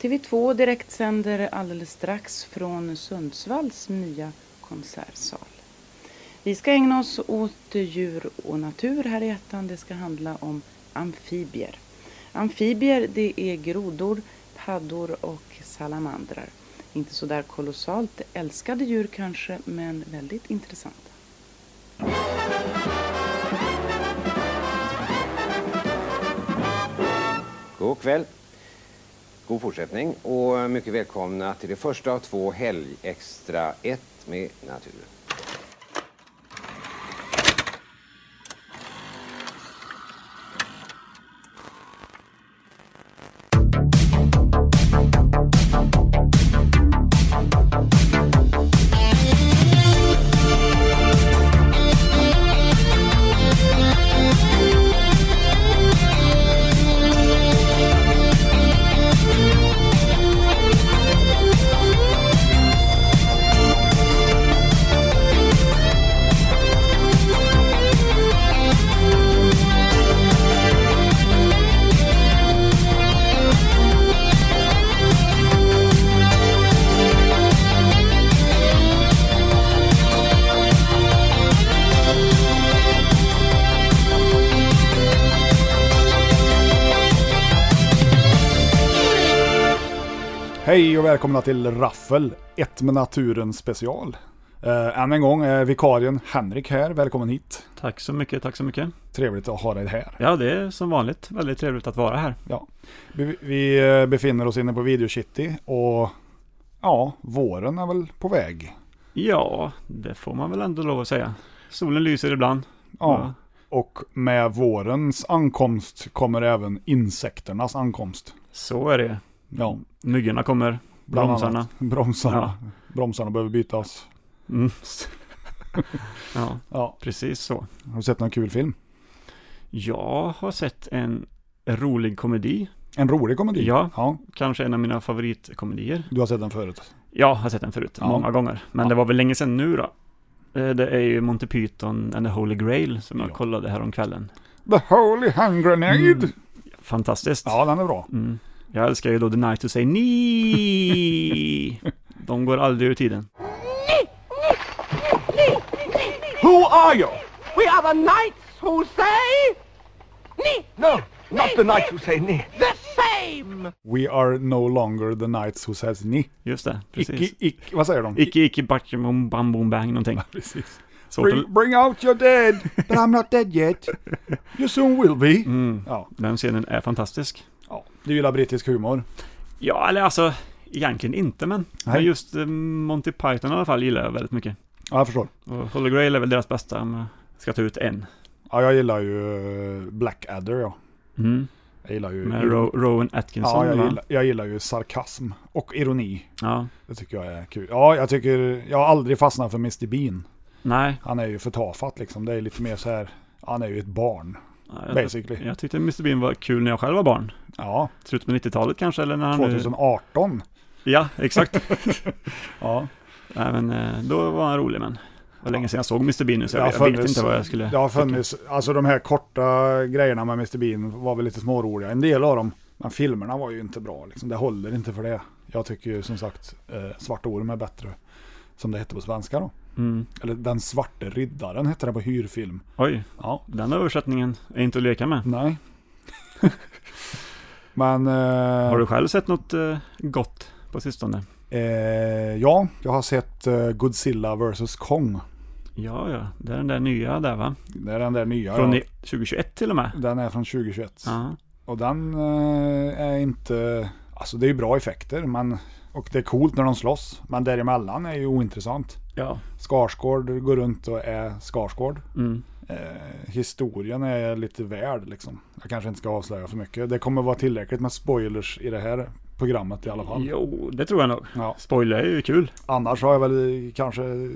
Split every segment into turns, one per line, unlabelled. TV2 direktsänder alldeles strax från Sundsvalls nya konsertsal. Vi ska ägna oss åt djur och natur här i ettan. Det ska handla om amfibier. Amfibier det är grodor, paddor och salamandrar. Inte så där kolossalt älskade djur kanske, men väldigt intressanta.
God kväll. God fortsättning och mycket välkomna till det första av två helgextra 1 med naturen.
Hej och välkomna till Raffel, ett med naturen special. Eh, än en gång är vikarien Henrik här, välkommen hit.
Tack så mycket, tack så mycket.
Trevligt att ha dig här.
Ja, det är som vanligt väldigt trevligt att vara här.
Ja. Vi, vi eh, befinner oss inne på Video City och ja, våren är väl på väg.
Ja, det får man väl ändå lov att säga. Solen lyser ibland.
Ja. Och med vårens ankomst kommer även insekternas ankomst.
Så är det.
Ja,
Myggorna kommer,
bland
bromsarna.
Annat. Bromsarna. Bromsarna behöver bytas.
Mm. ja,
Ja.
precis så.
Har du sett någon kul film?
Jag har sett en rolig komedi,
En rolig komedi.
Ja.
ja.
kanske en av mina favoritkomedier.
Du har sett den förut?
Jag har sett den förut,
Ja.
många gånger. Men
Ja.
det var väl länge sedan nu då. Eh, Det är ju Monty Python and the Holy Grail som jag
Ja.
kollade häromkvällen.
The Holy Hand Grenade!
Mm. Fantastiskt.
Ja, den är bra.
Mm. Jag älskar ju då The Night to Say Ni. De går aldrig ur tiden.
Who are you? We are the knights who say... Ni! No, not the knights who say ni. The same!
We are no longer the knights who says ni.
Just det, precis.
Icke, icke, vad säger de?
Icke, icke, backum, bam, boom, bang, någonting.
Precis.
Svårt att,
Bring, bring out your dead, but I'm not dead yet. You soon will be.
Mm.
Ja,
den scenen är fantastisk.
ja. Du gillar brittisk humor.
Ja, eller alltså, egentligen inte, men, men just eh, Monty Python i alla fall gillar jag väldigt mycket.
Ja, jag förstår.
Och Holy Grail är väl deras bästa, om jag ska ta ut en.
Ja, jag gillar ju eh, Blackadder, ja.
Mm.
Jag gillar ju...
Med Ro- Rowan
Mm.
Atkinson,
ja, jag
va?
gillar, jag gillar ju sarkasm och ironi.
Ja,
Det tycker jag är kul. Ja, jag tycker... Jag har aldrig fastnat för Mr Bean.
nej.
Han är ju för tafatt liksom. Det är lite mer så här... Han är ju ett barn,
Jag,
basically.
jag tyckte Mr Bean var kul när jag själv var barn.
Ja,
Slutet på 90-talet kanske, eller när han... nu-
2018.
Ja, exakt.
Ja.
Nej men eh, då var han rolig men. Det var länge sedan jag såg Mr Bean nu så
Det har
jag, vet
funnits-
inte vad jag skulle...
Det har funnits, alltså de här korta grejerna med Mr Bean var väl lite småroliga. En del av dem, men filmerna var ju inte bra liksom. Det håller inte för det. Jag tycker ju som sagt eh, Svart Orm är bättre. Som det hette på svenska då.
Mm.
Eller Den Svarte Riddaren hette det på hyrfilm.
Oj,
Ja,
den översättningen är inte att leka med.
nej. men... Eh,
Har du själv sett något eh, gott på sistone?
eh, ja, jag har sett eh, Godzilla vs Kong.
Ja, ja, det är den där nya där va?
Det är den där nya.
Från
ja.
i- 2021 till och med.
Den är från 2021.
Ja,
Och den eh, är inte... Alltså det är ju bra effekter men, och det är coolt när de slåss. Men däremellan är ju ointressant.
ja.
Skarsgård går runt och är Skarsgård.
Mm.
Eh, historien är lite värd liksom. Jag kanske inte ska avslöja för mycket. Det kommer vara tillräckligt med spoilers i det här programmet i alla fall.
Jo, det tror jag nog.
Ja.
Spoiler är ju kul.
Annars har jag väl kanske, ja,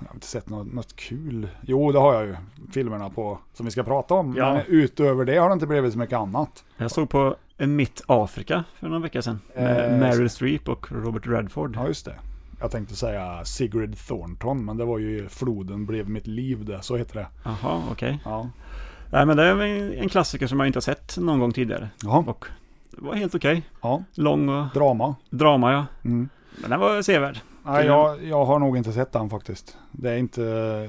jag har inte sett något, något kul. Jo, det har jag ju. Filmerna på, som vi ska prata om.
Ja.
Men utöver det har det inte blivit så mycket annat.
Jag såg på Mitt Afrika för några veckor sedan. Med
Eh,
Meryl Streep och Robert Redford.
Ja, just det. Jag tänkte säga Sigrid Thornton, men det var ju Floden blev mitt liv det, så heter det.
Jaha, okej.
Ja.
Nej men det är väl en klassiker som jag inte har sett någon gång tidigare.
Jaha.
Och Det var helt okej.
Ja,
Lång och
drama.
drama ja.
Mm.
Men den var sevärd.
Nej, jag, jag har nog inte sett den faktiskt. Det är inte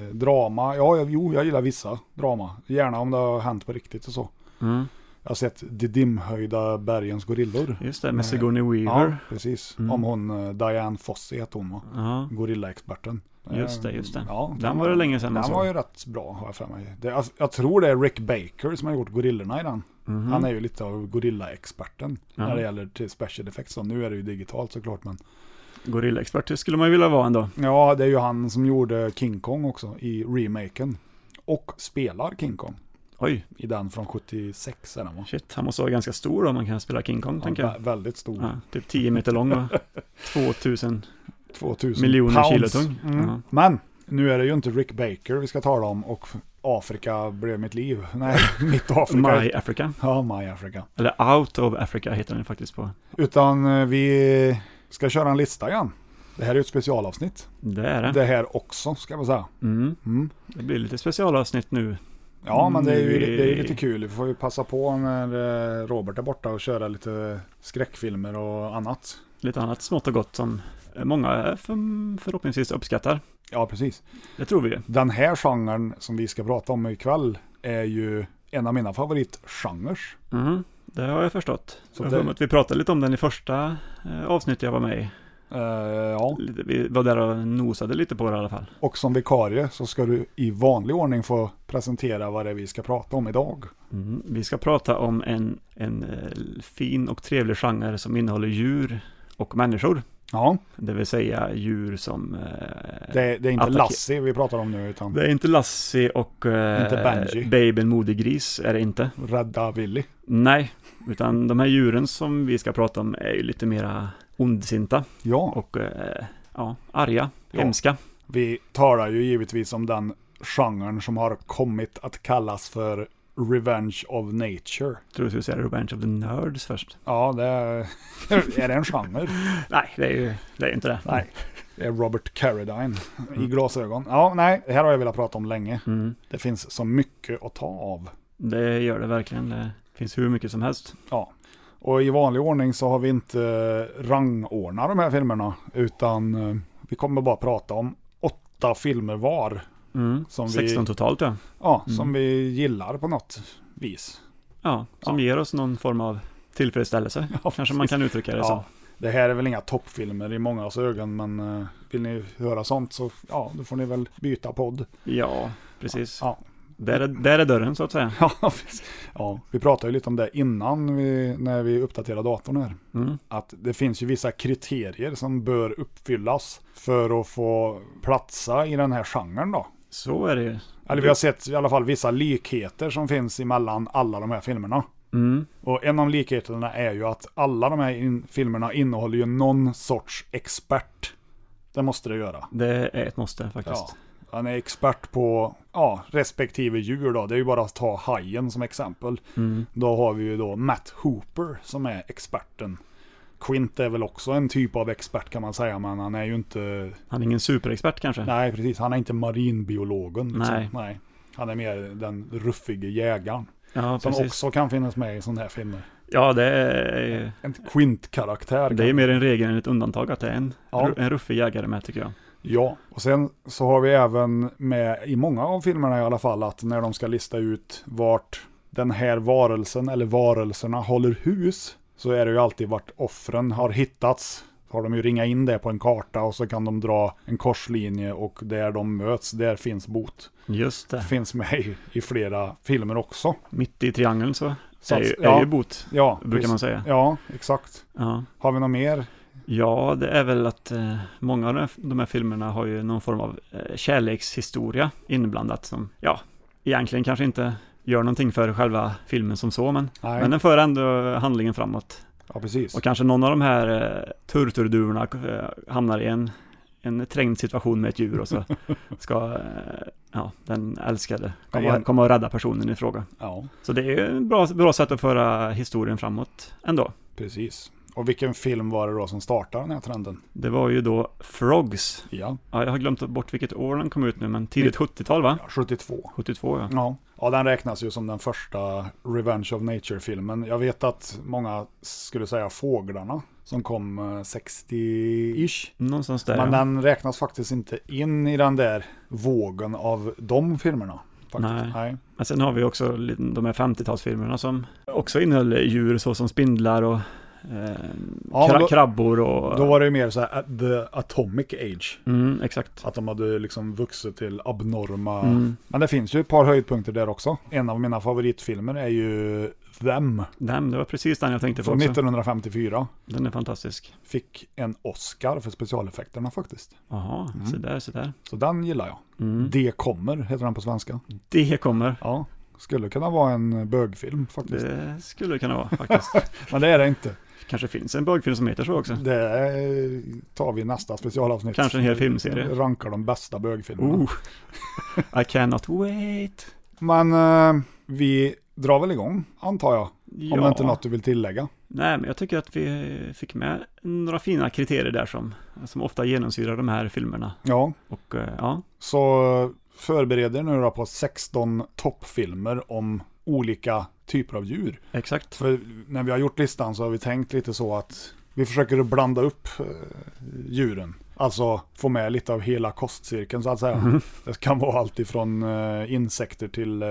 eh, drama. Ja, jag- jo, jag gillar vissa drama. Gärna om det har hänt på riktigt och så.
Mm.
Jag har sett De dimhöjda bergens gorillor.
Just det, med
Eh,
Sigourney
Ja,
Weaver.
precis.
Mm.
Om hon eh, Diane Fossey hette hon va?
Ja.
Gorillaexperten.
Just det,
Eh,
just det.
Ja,
Den var det länge sedan alltså. man
Den
såg.
var ju rätt bra har jag för mig. Det, jag, jag tror det är Rick Baker som har gjort gorillorna i den. Han är ju lite av gorillaexperten när
Mhm. Ja.
det gäller till special effects. Så nu är det ju digitalt såklart men
Gorillaexpert det skulle man ju vilja vara ändå.
Ja, det är ju han som gjorde King Kong också i remaken. Och spelar King Kong
Oj,
i den från 76 är den va?
shit. Han måste vara ganska stor om man kan spela King Kong, tänker
Ja,
jag.
vä- väldigt stor.
Ja, typ 10 meter lång och 2000
2000
miljoner kilo
pounds.
tung.
Mm.
Ja.
Men nu är det ju inte Rick Baker vi ska tala om och Afrika blev mitt liv. Nej, mitt Afrika.
My Africa.
Ja, My Africa.
Eller Out of Africa heter den faktiskt på.
Utan eh, vi ska köra en lista igen. Det här är ju ett specialavsnitt.
Det är det.
Det här också ska man säga.
Mm.
Mm.
Det blir lite specialavsnitt nu.
Ja, men det är ju
Nu
det är ju
är-
lite kul. Vi får ju passa på när eh, Robert är borta och köra lite skräckfilmer och annat.
Lite annat smått och gott som många för, förhoppningsvis uppskattar.
Ja, precis.
Det tror vi ju.
Den här genren som vi ska prata om ikväll är ju en av mina favoritgenrer.
Mhm, Det har jag förstått.
Så
Så jag har för
det-
mig att vi pratade lite om den i första eh, avsnittet jag var med i.
Eh, ja.
Lite- Vi var där och nosade lite på det i alla fall.
Och som vikarie så ska du i vanlig ordning få presentera vad det är vi ska prata om idag.
Mm. Vi ska prata om en, en eh, fin och trevlig genre som innehåller djur och människor.
Ja,
Det vill säga djur som... eh,
det, det är inte
Attacke-
Lassie vi pratar om nu utan
Det är inte Lassie och eh,
Inte Benji.
Baben Modegris, är det inte.
Rädda Willy.
Nej, utan de här djuren som vi ska prata om är ju lite mera ondsinta
Ja,
och eh, ja, arga,
Ja.
hemska.
vi talar ju givetvis om den genren som har kommit att kallas för Revenge of Nature.
tror du skulle säga Revenge of the Nerds först.
Ja, det är, är det en genre?
Nej, det är ju det är inte det.
Nej. Mm. Det är Robert Carradine i glasögon. Ja, nej, det här har jag velat prata om länge.
Mm,
Det finns så mycket att ta av.
det gör det verkligen. eh, Det finns hur mycket som helst.
Ja. Och i vanlig ordning så har vi inte eh, rangordnat de här filmerna, utan eh, vi kommer bara prata om åtta filmer var,
Mm,
Som vi-
16 totalt ja.
ja, som vi gillar på något vis.
ja som ger oss någon form av tillfredsställelse. Kanske man kan uttrycka det
Ja,
så.
det här är väl inga toppfilmer i mångas ögon, men eh, vill ni höra sånt så ja, då får ni väl byta podd.
Ja, precis.
Ja.
Där, är, där är dörren så att säga.
Ja, precis. ja, vi pratade ju lite om det innan vi, när vi uppdaterade datorn här.
Mm.
Att det finns ju vissa kriterier som bör uppfyllas för att få platsa i den här genren då.
Så är det ju.
Eller vi har sett i alla fall vissa likheter som finns emellan alla de här filmerna.
Mm.
Och en av likheterna är ju att alla de här in- filmerna innehåller ju någon sorts expert. Det måste det göra.
Det är ett måste
Ja.
faktiskt.
Han är expert på ja, respektive djur då. Det är ju bara att ta hajen som exempel. Då har vi ju då Matt Hooper som är experten. Quint är väl också en typ av expert kan man säga, men han är ju inte...
Han är ingen superexpert kanske.
Nej, precis. Han är inte marinbiologen. Liksom.
Nej.
Nej. Han är mer den ruffige jägaren.
Ja,
Som
precis.
också kan finnas med i sådana här filmer.
Ja, det är,
En Quint-karaktär.
det
kan-
är mer en regel än ett undantag att det är en,
Ja.
en ruffig jägare med tycker jag.
Ja, och sen så har vi även med i många av filmerna i alla fall att när de ska lista ut vart den här varelsen eller varelserna håller hus så är det ju alltid vart offren har hittats. Så har de ju ringat in det på en karta och så kan de dra en korslinje och där de möts, där finns bot.
Just det.
Finns med i, i flera filmer också.
Mitt i triangeln så,
Så
är,
att-
ju,
ja.
är ju bot,
Ja,
brukar man
precis.
säga.
Ja, exakt.
Ja.
Har vi något mer?
ja, det är väl att eh, många av de här, de här filmerna har ju någon form av eh, kärlekshistoria inblandat som, ja, egentligen kanske inte gör någonting för själva filmen som så, men,
Nej.
men den för ändå handlingen framåt.
Ja, precis.
Och kanske någon av de här eh, turturduvorna eh, hamnar i en, en trängd situation med ett djur och så ska eh, ja, den älskade komma,
Igen.
komma och rädda personen i fråga.
Ja.
Så det är ju ett bra, bra sätt att föra historien framåt ändå.
Precis. Och vilken film var det då som startade den här trenden?
Det var ju då Frogs.
Ja,
Ja, jag har glömt bort vilket år den kom ut nu, men tidigt 70-tal va?
72.
72 ja.
Ja. Ja, den räknas ju som den första Revenge of Nature-filmen. Jag vet att många skulle säga Fåglarna, som kom eh, 60-ish.
Någonstans där.
Men
ja.
den räknas faktiskt inte in i den där vågen av de filmerna. Faktiskt.
Nej.
Nej.
Men sen har vi också lite- de här 50-talsfilmerna som också innehöll djur såsom spindlar och eh,
Ja,
kra-
men då-
krabbor och...
Då var det ju mer så här at the atomic age.
mm, exakt.
Att de hade liksom vuxit till abnorma...
Mm.
Men det finns ju ett par höjdpunkter där också. En av mina favoritfilmer är ju Them.
Nej, men det var precis den jag tänkte på
Från
också.
1954.
Den är fantastisk.
Fick en Oscar för specialeffekterna faktiskt.
Jaha,
Mm.
så där, så där.
Så den gillar jag.
Mm.
Det kommer, heter den på svenska.
Det kommer.
Ja, skulle kunna vara en bögfilm faktiskt.
Det skulle det kunna vara faktiskt.
Men det är det inte.
Kanske finns en bögfilm som heter så också.
Det tar vi i nästa specialavsnitt.
Kanske en hel filmserie.
Rankar de bästa bögfilmerna.
Oh, I cannot wait.
Men eh, vi drar väl igång, antar jag. Om det
Ja.
inte är något du vill tillägga.
Nej, men jag tycker att vi fick med några fina kriterier där som, som ofta genomsyrar de här filmerna.
Ja,
Och eh, ja,
så förbered er nu då på 16 toppfilmer om olika typer av djur.
exakt.
För när vi har gjort listan så har vi tänkt lite så att vi försöker att blanda upp eh, djuren. Alltså få med lite av hela kostcirkeln så att säga. Det kan vara allt ifrån eh, insekter till eh,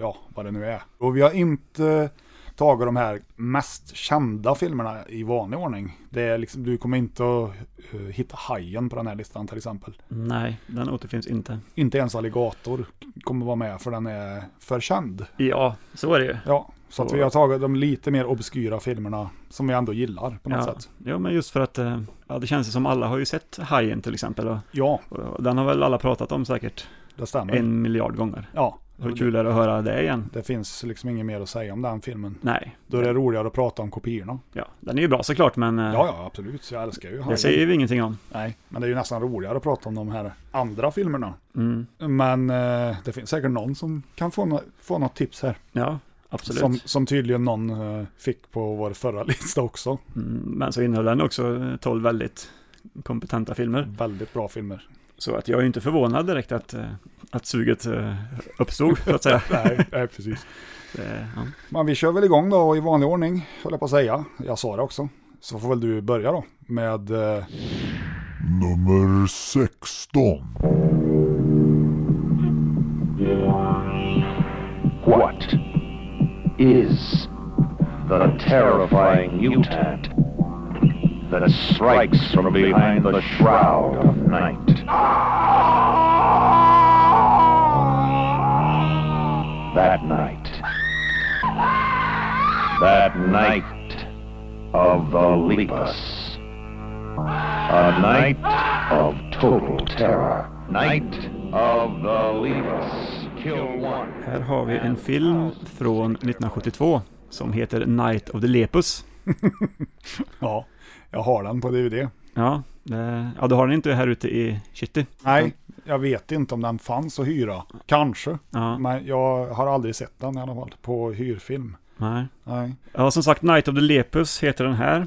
ja, vad det nu är. Och vi har inte tagit de här mest kända filmerna i vanlig ordning. Det är liksom, du kommer inte att eh, hitta hajen på den här listan till exempel.
Nej, den återfinns inte.
Inte ens alligator kommer vara med för den är för känd.
Ja, så är det ju.
Ja, så att vi har tagit de lite mer obskyra filmerna som vi ändå gillar på något
Ja,
sätt.
ja, men just för att eh, ja, det känns ju som alla har ju sett Hajen till exempel. Och,
Ja,
och den har väl alla pratat om säkert
det stämmer.
en miljard gånger.
Ja,
Hur kul är det att höra det igen?
det finns liksom inget mer att säga om den filmen.
Nej,
Då är det roligare att prata om kopiorna.
ja, den är ju bra såklart, men eh,
Ja, ja, absolut. Jag älskar ju
det
Hajen.
säger vi ingenting om.
Nej, men det är ju nästan roligare att prata om de här andra filmerna.
Mm.
Men eh, det finns säkert någon som kan få, nå- få något tips här.
Ja, absolut.
Som, som tydligen någon eh, fick på vår förra lista också.
Mm. Men så innehöll den också eh, 12 väldigt kompetenta filmer.
Väldigt bra filmer.
Så att jag är ju inte förvånad direkt att, eh, att suget eh, uppstod, så att säga.
Nej, nej precis.
Det, ja.
Men vi kör väl igång då och i vanlig ordning, höll jag på att säga. Jag sa det också. Så får väl du börja då med... Eh,
Nummer 16.
What is the terrifying mutant that strikes from behind the shroud of night? That night. That night of the Lepus. A night of total terror. Night of the Lepus. Kill one.
Här har vi en film från 1972 som heter Night of the Lepus.
ja, jag har den på DVD.
Ja, det, ja du har den inte här ute i Kitty.
Nej, jag vet inte om den fanns att hyra. Kanske.
Ja.
Men jag har aldrig sett den i alla fall på hyrfilm.
Nej.
Nej.
Ja, som sagt, Night of the Lepus heter den här.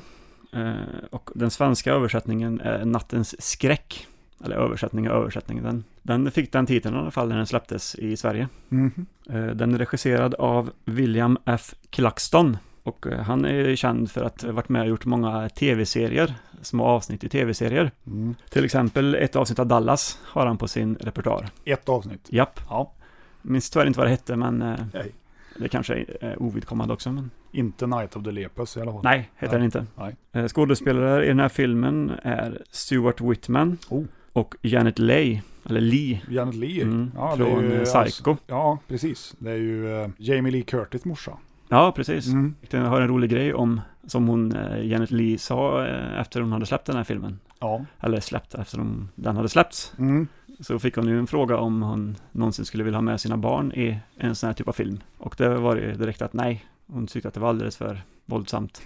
Eh, och den svenska översättningen är Nattens skräck. Eller översättning och översättning. Den, den fick den titeln i alla fall när den släpptes i Sverige.
Mhm.
Eh, den är regisserad av William F. Claxton. Och eh, han är ju känd för att ha varit med och gjort många tv-serier, små avsnitt i tv-serier.
Mm.
Till exempel ett avsnitt av Dallas har han på sin repertoar.
Ett avsnitt.
Japp,
Ja,
minns tyvärr inte vad det hette, men eh,
Nej.
det kanske är ovidkommande också. Men...
inte Night of the Lepus i alla fall.
Nej, heter
Nej.
den inte.
Nej.
Eh, Skådespelare i den här filmen är Stuart Whitman
Oh.
och Janet Leigh, eller Lee,
Janet Leigh.
mm,
Ja, det är
från
ju, alltså-
eh, Psycho.
ja, precis. Det är ju eh, Jamie Lee Curtis morsa.
Ja, precis.
Mm.
Jag har en rolig grej om, som hon, eh, Janet Leigh sa eh, efter hon hade släppt den här filmen.
Ja.
Eller släppt, efter hon, den hade släppts.
Mm.
Så fick hon ju en fråga om hon någonsin skulle vilja ha med sina barn i en sån här typ av film. Och det var ju direkt att nej, hon tyckte att det var alldeles för våldsamt.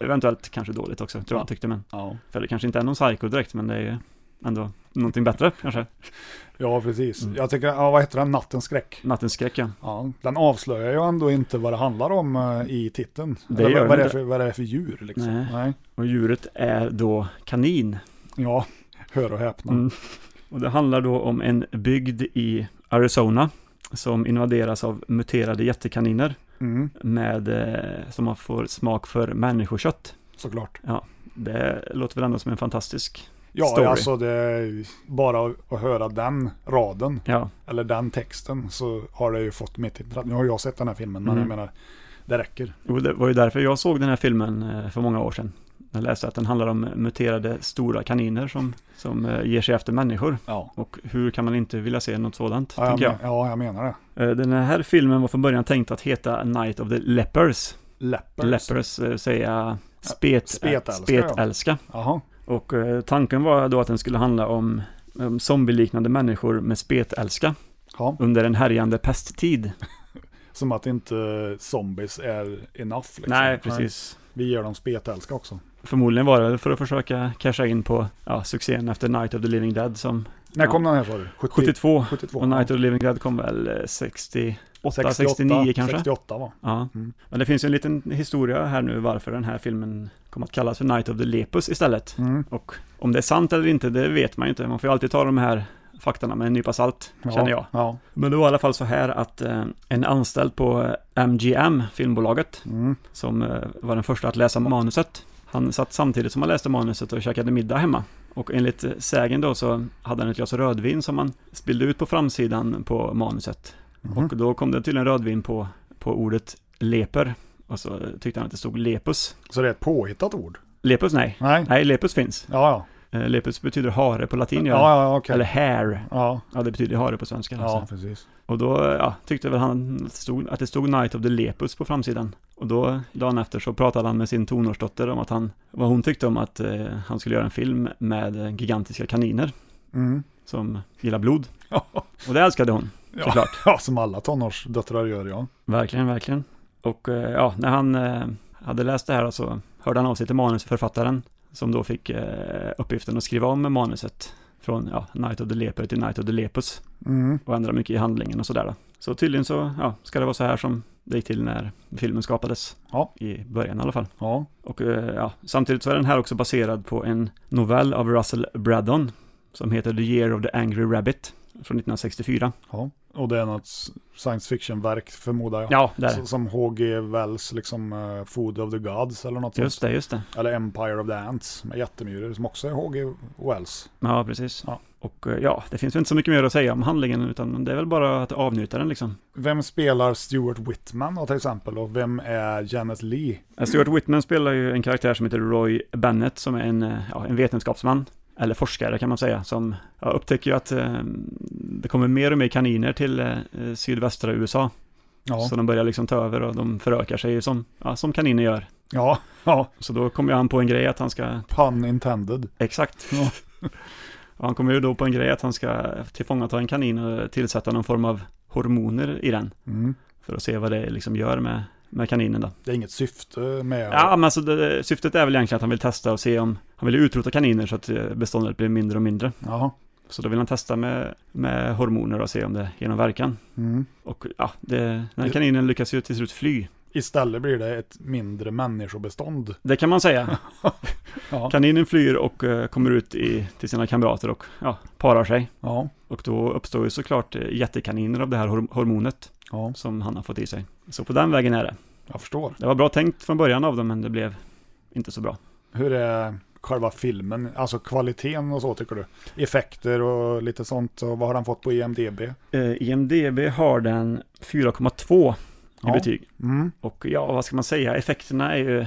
Eventuellt kanske dåligt också, tror jag hon tyckte, men
Ja.
För det kanske inte är någon psycho direkt, men det är ju ändå någonting bättre kanske.
ja, precis.
Mm.
Jag tycker, ja, vad heter den? Nattens skräck.
Nattens skräck, ja.
Ja, den avslöjar ju ändå inte vad det handlar om eh, i titeln.
Det
Eller
gör
vad,
den
det är
inte.
för, vad det är för djur liksom.
Nej.
Nej.
Och djuret är då kanin.
Ja, hör och häpna.
Mm. Och det handlar då om en bygd i Arizona som invaderas av muterade jättekaniner
Mm,
med, eh, som man får smak för människokött.
såklart.
Det låter väl ändå som en fantastisk,
Ja,
Story.
alltså det är bara att- att höra den raden
ja,
eller den texten så har det ju fått mitt intresse. Nu har jag sett den här filmen, men
Mm.
jag menar, det räcker.
och det var ju därför jag såg den här filmen eh, för många år sedan. Jag läste att den handlar om muterade stora kaniner som, som eh, ger sig efter människor.
Ja.
Och hur kan man inte vilja se något sådant,
Ja, jag,
tänker jag.
men- ja, jag menar det.
Eh, Den här filmen var från början tänkt att heta Night of the Lepers.
Leppers.
Lepers, eh, säga spet,
spetälska, ja.
spetälska.
Jaha.
Och eh, tanken var då att den skulle handla om om zombieliknande människor med spetälska
Ja.
under en härjande pesttid.
Som att inte zombies är enough. Liksom.
Nej, precis.
Vi ger dem spetälska också.
Förmodligen var det väl för att försöka casha in på ja, succén efter Night of the Living Dead som
När
Ja.
kom den här sa du? 70
72
72.
och Night of the Living Dead kom väl eh, 68,
68,
69 kanske?
68 va?
Ja.
Mm.
Men det finns ju en liten historia här nu varför den här filmen kom att kallas för Night of the Lepus istället.
Mm.
Och om det är sant eller inte, det vet man ju inte. Man får ju alltid ta de här faktorna med en nypa salt,
Ja,
känner jag.
Ja.
Men det var i alla fall så här att eh, en anställd på eh, MGM, filmbolaget,
Mm.
som eh, var den första att läsa manuset, han satt samtidigt som han läste manuset och käkade middag hemma. Och enligt eh, sägen då så hade han ett glas rödvin som han spillde ut på framsidan på manuset.
Mhm.
Och då kom det tydligen rödvin på, på ordet leper. Och så tyckte han att det stod lepus.
Så det är ett påhittat ord?
Lepus nej.
Nej.
Nej, lepus finns.
Ja, ja.
Eh, Lepus betyder hare på latin. gör det.
Ja, ja, okej.
Eller hair.
Ja,
Ja, det betyder hare på svenska.
ja,
Alltså.
precis.
Och då eh, ja, tyckte väl han att det, stod, att det stod Night of the Lepus på framsidan. Och då, dagen efter, så pratade han med sin tonårsdotter om att han, vad hon tyckte om att eh, han skulle göra en film med eh, gigantiska kaniner
Mm.
som gillar blod.
Ja.
Och det älskade hon,
Ja.
såklart.
Ja, som alla tonårsdöttrar gör, ja.
Verkligen, verkligen. Och eh, ja, när han eh, hade läst det här då så hörde han av sig till manusförfattaren som då fick eh, uppgiften att skriva om manuset från ja, Night of the Leper till Night of the Lepus
Mm.
och ändra mycket i handlingen och sådär. Då. Så tydligen så ja, ska det vara så här som det gick till när filmen skapades.
Ja.
I början i alla fall.
Ja.
Och eh, ja, samtidigt så är den här också baserad på en novell av Russell Braddon som heter The Year of the Angry Rabbit från 1964.
ja. Och det är något s- science fiction-verk, förmodar jag.
Ja, där.
S- Som H.G. Wells, liksom eh, Food of the Gods eller något
Just
sånt.
det, just det.
Eller Empire of the Ants med jättemyror, som också är H.G. Wells.
Ja, precis.
Ja.
Och eh, ja, det finns väl inte så mycket mer att säga om handlingen, utan det är väl bara att avnjuta den liksom.
Vem spelar Stuart Whitman då, till exempel? Och vem är Janet Lee?
Eh, Stuart Whitman spelar ju en karaktär som heter Roy Bennett, som är en, eh, ja, en vetenskapsman, eller forskare kan man säga, som ja, upptäcker ju att eh, det kommer mer och mer kaniner till eh, eh, sydvästra USA.
Ja,
Så de börjar liksom ta över och de förökar sig ju som, ja, som kaniner gör.
ja, ja.
Så då kommer ju han på en grej att han ska,
Pun intended.
exakt.
Ja.
Och han kommer ju då på en grej att han ska tillfångata en kanin och tillsätta någon form av hormoner i den.
Mm.
för att se vad det liksom gör med, med kaninen då.
Det är inget syfte med...
Ja, men alltså det, syftet är väl egentligen att han vill testa och se om, han vill utrota kaniner så att eh, beståndet blir mindre och mindre.
Jaha.
Så då vill han testa med, med hormoner och se om det ger någon verkan.
Mm.
Och ja, det, den här kaninen lyckas ju till slut fly.
Istället blir det ett mindre människobestånd.
Det kan man säga.
Ja.
Kaninen flyr och eh, kommer ut i, till sina kamrater och ja, parar sig.
Ja.
Och då uppstår ju såklart eh, jättekaniner av det här horm- hormonet
ja,
som han har fått i sig. Så på den vägen är det.
jag förstår.
Det var bra tänkt från början av dem, men det blev inte så bra.
Hur är själva filmen, alltså kvaliteten och så tycker du? Effekter och lite sånt, och vad har den fått på IMDB?
Eh, IMDB har den 4,2 i
Ja.
betyg.
Mm.
Och ja, vad ska man säga, effekterna är ju...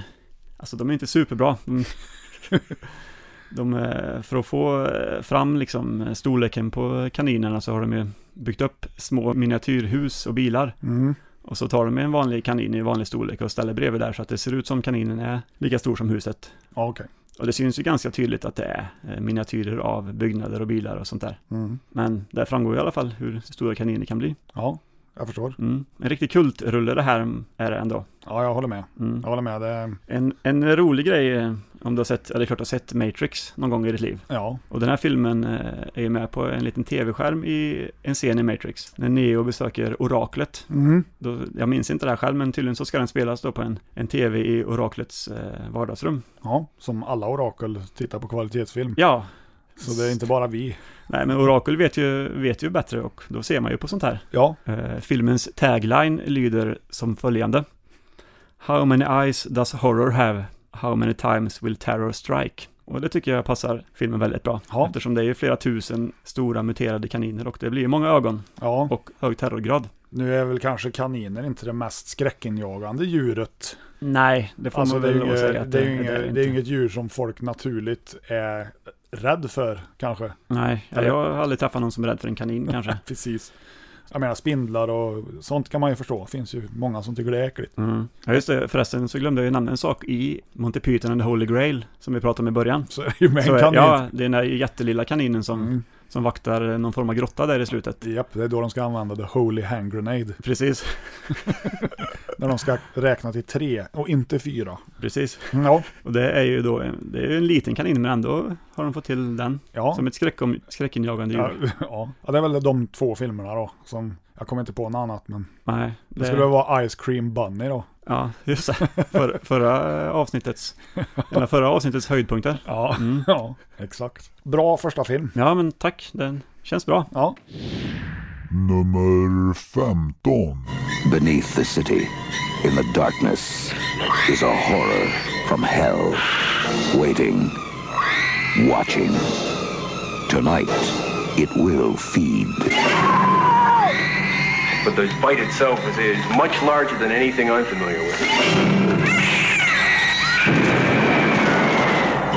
Alltså de är inte superbra. De, de, eh, för att få eh, fram liksom eh, storleken på kaninerna så har de ju byggt upp små miniatyrhus och bilar.
Mm.
Och så tar de en vanlig kanin i vanlig storlek och ställer bredvid där så att det ser ut som kaninen är lika stor som huset.
Ja, okej.
Och det syns ju ganska tydligt att det är eh, miniatyrer av byggnader och bilar och sånt där.
Mm.
Men där framgår i alla fall hur stora kaniner kan bli.
Ja, jag förstår.
Mm. En riktig kultrulle det här är det ändå.
Ja, jag håller med.
Mm.
Jag håller med. Det,
En, en rolig grej, eh, om du har sett, eller det är klart du har sett Matrix någon gång i ditt liv.
ja,
Och den här filmen eh, är ju med på en liten tv-skärm i en scen i Matrix. När Neo besöker oraklet.
mm.
Då, jag minns inte det här själv, men tydligen så ska den spelas då på en, en tv i oraklets eh, vardagsrum.
ja, som alla orakel tittar på kvalitetsfilm.
Ja,
Så det är inte bara vi.
Nej, men Orakel vet ju, vet ju bättre och då ser man ju på sånt här.
Ja,
Eh, filmens tagline lyder som följande. How many eyes does horror have? How many times will terror strike? Och det tycker jag passar filmen väldigt bra.
Ja.
Eftersom det är ju flera tusen stora muterade kaniner och det blir ju många ögon
ja.
och hög terrorgrad.
Nu är väl kanske kaniner inte det mest skräckinjagande djuret.
Nej, det får
Alltså,
man
det är
väl
ju
lov att säga.
inget,
att
det är ju
det
inget, det är ju inget djur som folk naturligt är rädd för kanske.
Nej,
Eller-
jag har aldrig träffat någon som är rädd för en kanin kanske.
Precis. Jag menar spindlar och sånt kan man ju förstå. Det finns ju många som tycker det är äckligt.
Mm. Ja, just det. Förresten så glömde jag ju nämna en sak i Monty Python and the Holy Grail, som vi pratade om i början.
Så är det ju med
Så,
en kanin.
Ja, det är den där jättelilla kaninen som,
Mm.
som vaktar någon form av grotta där i slutet.
Japp, det är då de ska använda the holy hand grenade.
Precis,
När de ska räkna till tre och inte fyra.
precis.
Ja,
Och det är ju då en, det är ju en liten kanin, men ändå har de fått till den.
ja.
Som ett skräckom, skräckinjagande
Ja,
djur.
ja. ja, det är väl de två filmerna då. Som, jag kommer inte på något annat, men
Nej,
det skulle väl vara Ice Cream Bunny då.
Ja, just det. För, förra avsnittets, eller förra avsnittets höjdpunkter.
Ja,
Mm.
ja, exakt. Bra första film.
Ja, men tack. Den känns bra.
Ja,
Nummer 15.
Beneath the city, in the darkness, is a horror from hell, waiting, watching. Tonight, it will feed.
But the bite itself is, is much larger than anything I'm familiar with.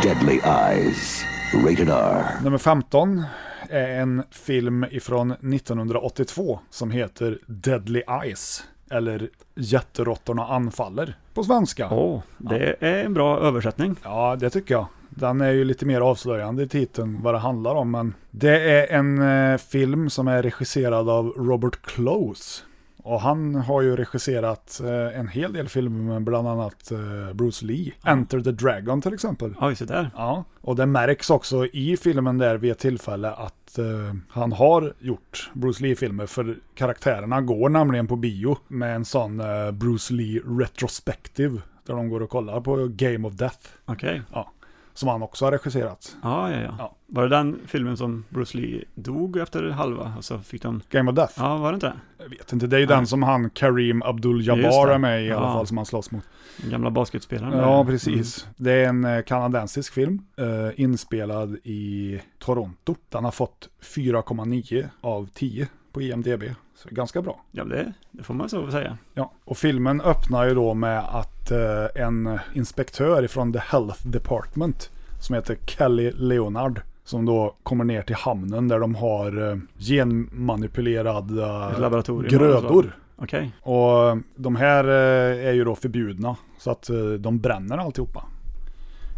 Deadly Eyes, rated R.
nummer 15 är en film ifrån 1982 som heter Deadly Eyes. Eller Jätteråttorna anfaller på svenska.
Åh, det är en bra översättning.
Ja, det tycker jag. Den är ju lite mer avslöjande i titeln vad det handlar om. Men det är en eh, film som är regisserad av Robert Close. Och han har ju regisserat eh, en hel del filmer, bland annat eh, Bruce Lee. Enter the Dragon till exempel.
Oj, så där.
Ja, och det märks också i filmen där vid ett tillfälle att eh, han har gjort Bruce Lee-filmer för karaktärerna går nämligen på bio med en sån eh, Bruce Lee retrospektiv där de går och kollar på Game of Death
Okej.
ja, som han också har regisserat.
Ja, ja, ja,
Ja.
Var det den filmen som Bruce Lee dog efter halva? Och så fick de...
Game of Death?
Ja, var det inte det?
Jag vet inte, det är ju den som han Kareem
Just
Abdul-Jabbar
det.
är med i i alla
Ja. Mm.
fall som han slåss mot.
Den gamla basketspelaren.
Ja,
där.
precis. Det är en eh, kanadensisk film eh, inspelad i Toronto. Den har fått 4,9 av 10 på IMDB. Så ganska bra.
Ja, det, det får man så säga.
Ja, och filmen öppnar ju då med att eh, en inspektör ifrån The Health Department som heter Kelly Leonard som då kommer ner till hamnen där de har eh, genmanipulerade
Ett laboratorium alltså. och så.
grödor.
Okej.
Och eh, de här eh, är ju då förbjudna så att eh, de bränner alltihopa.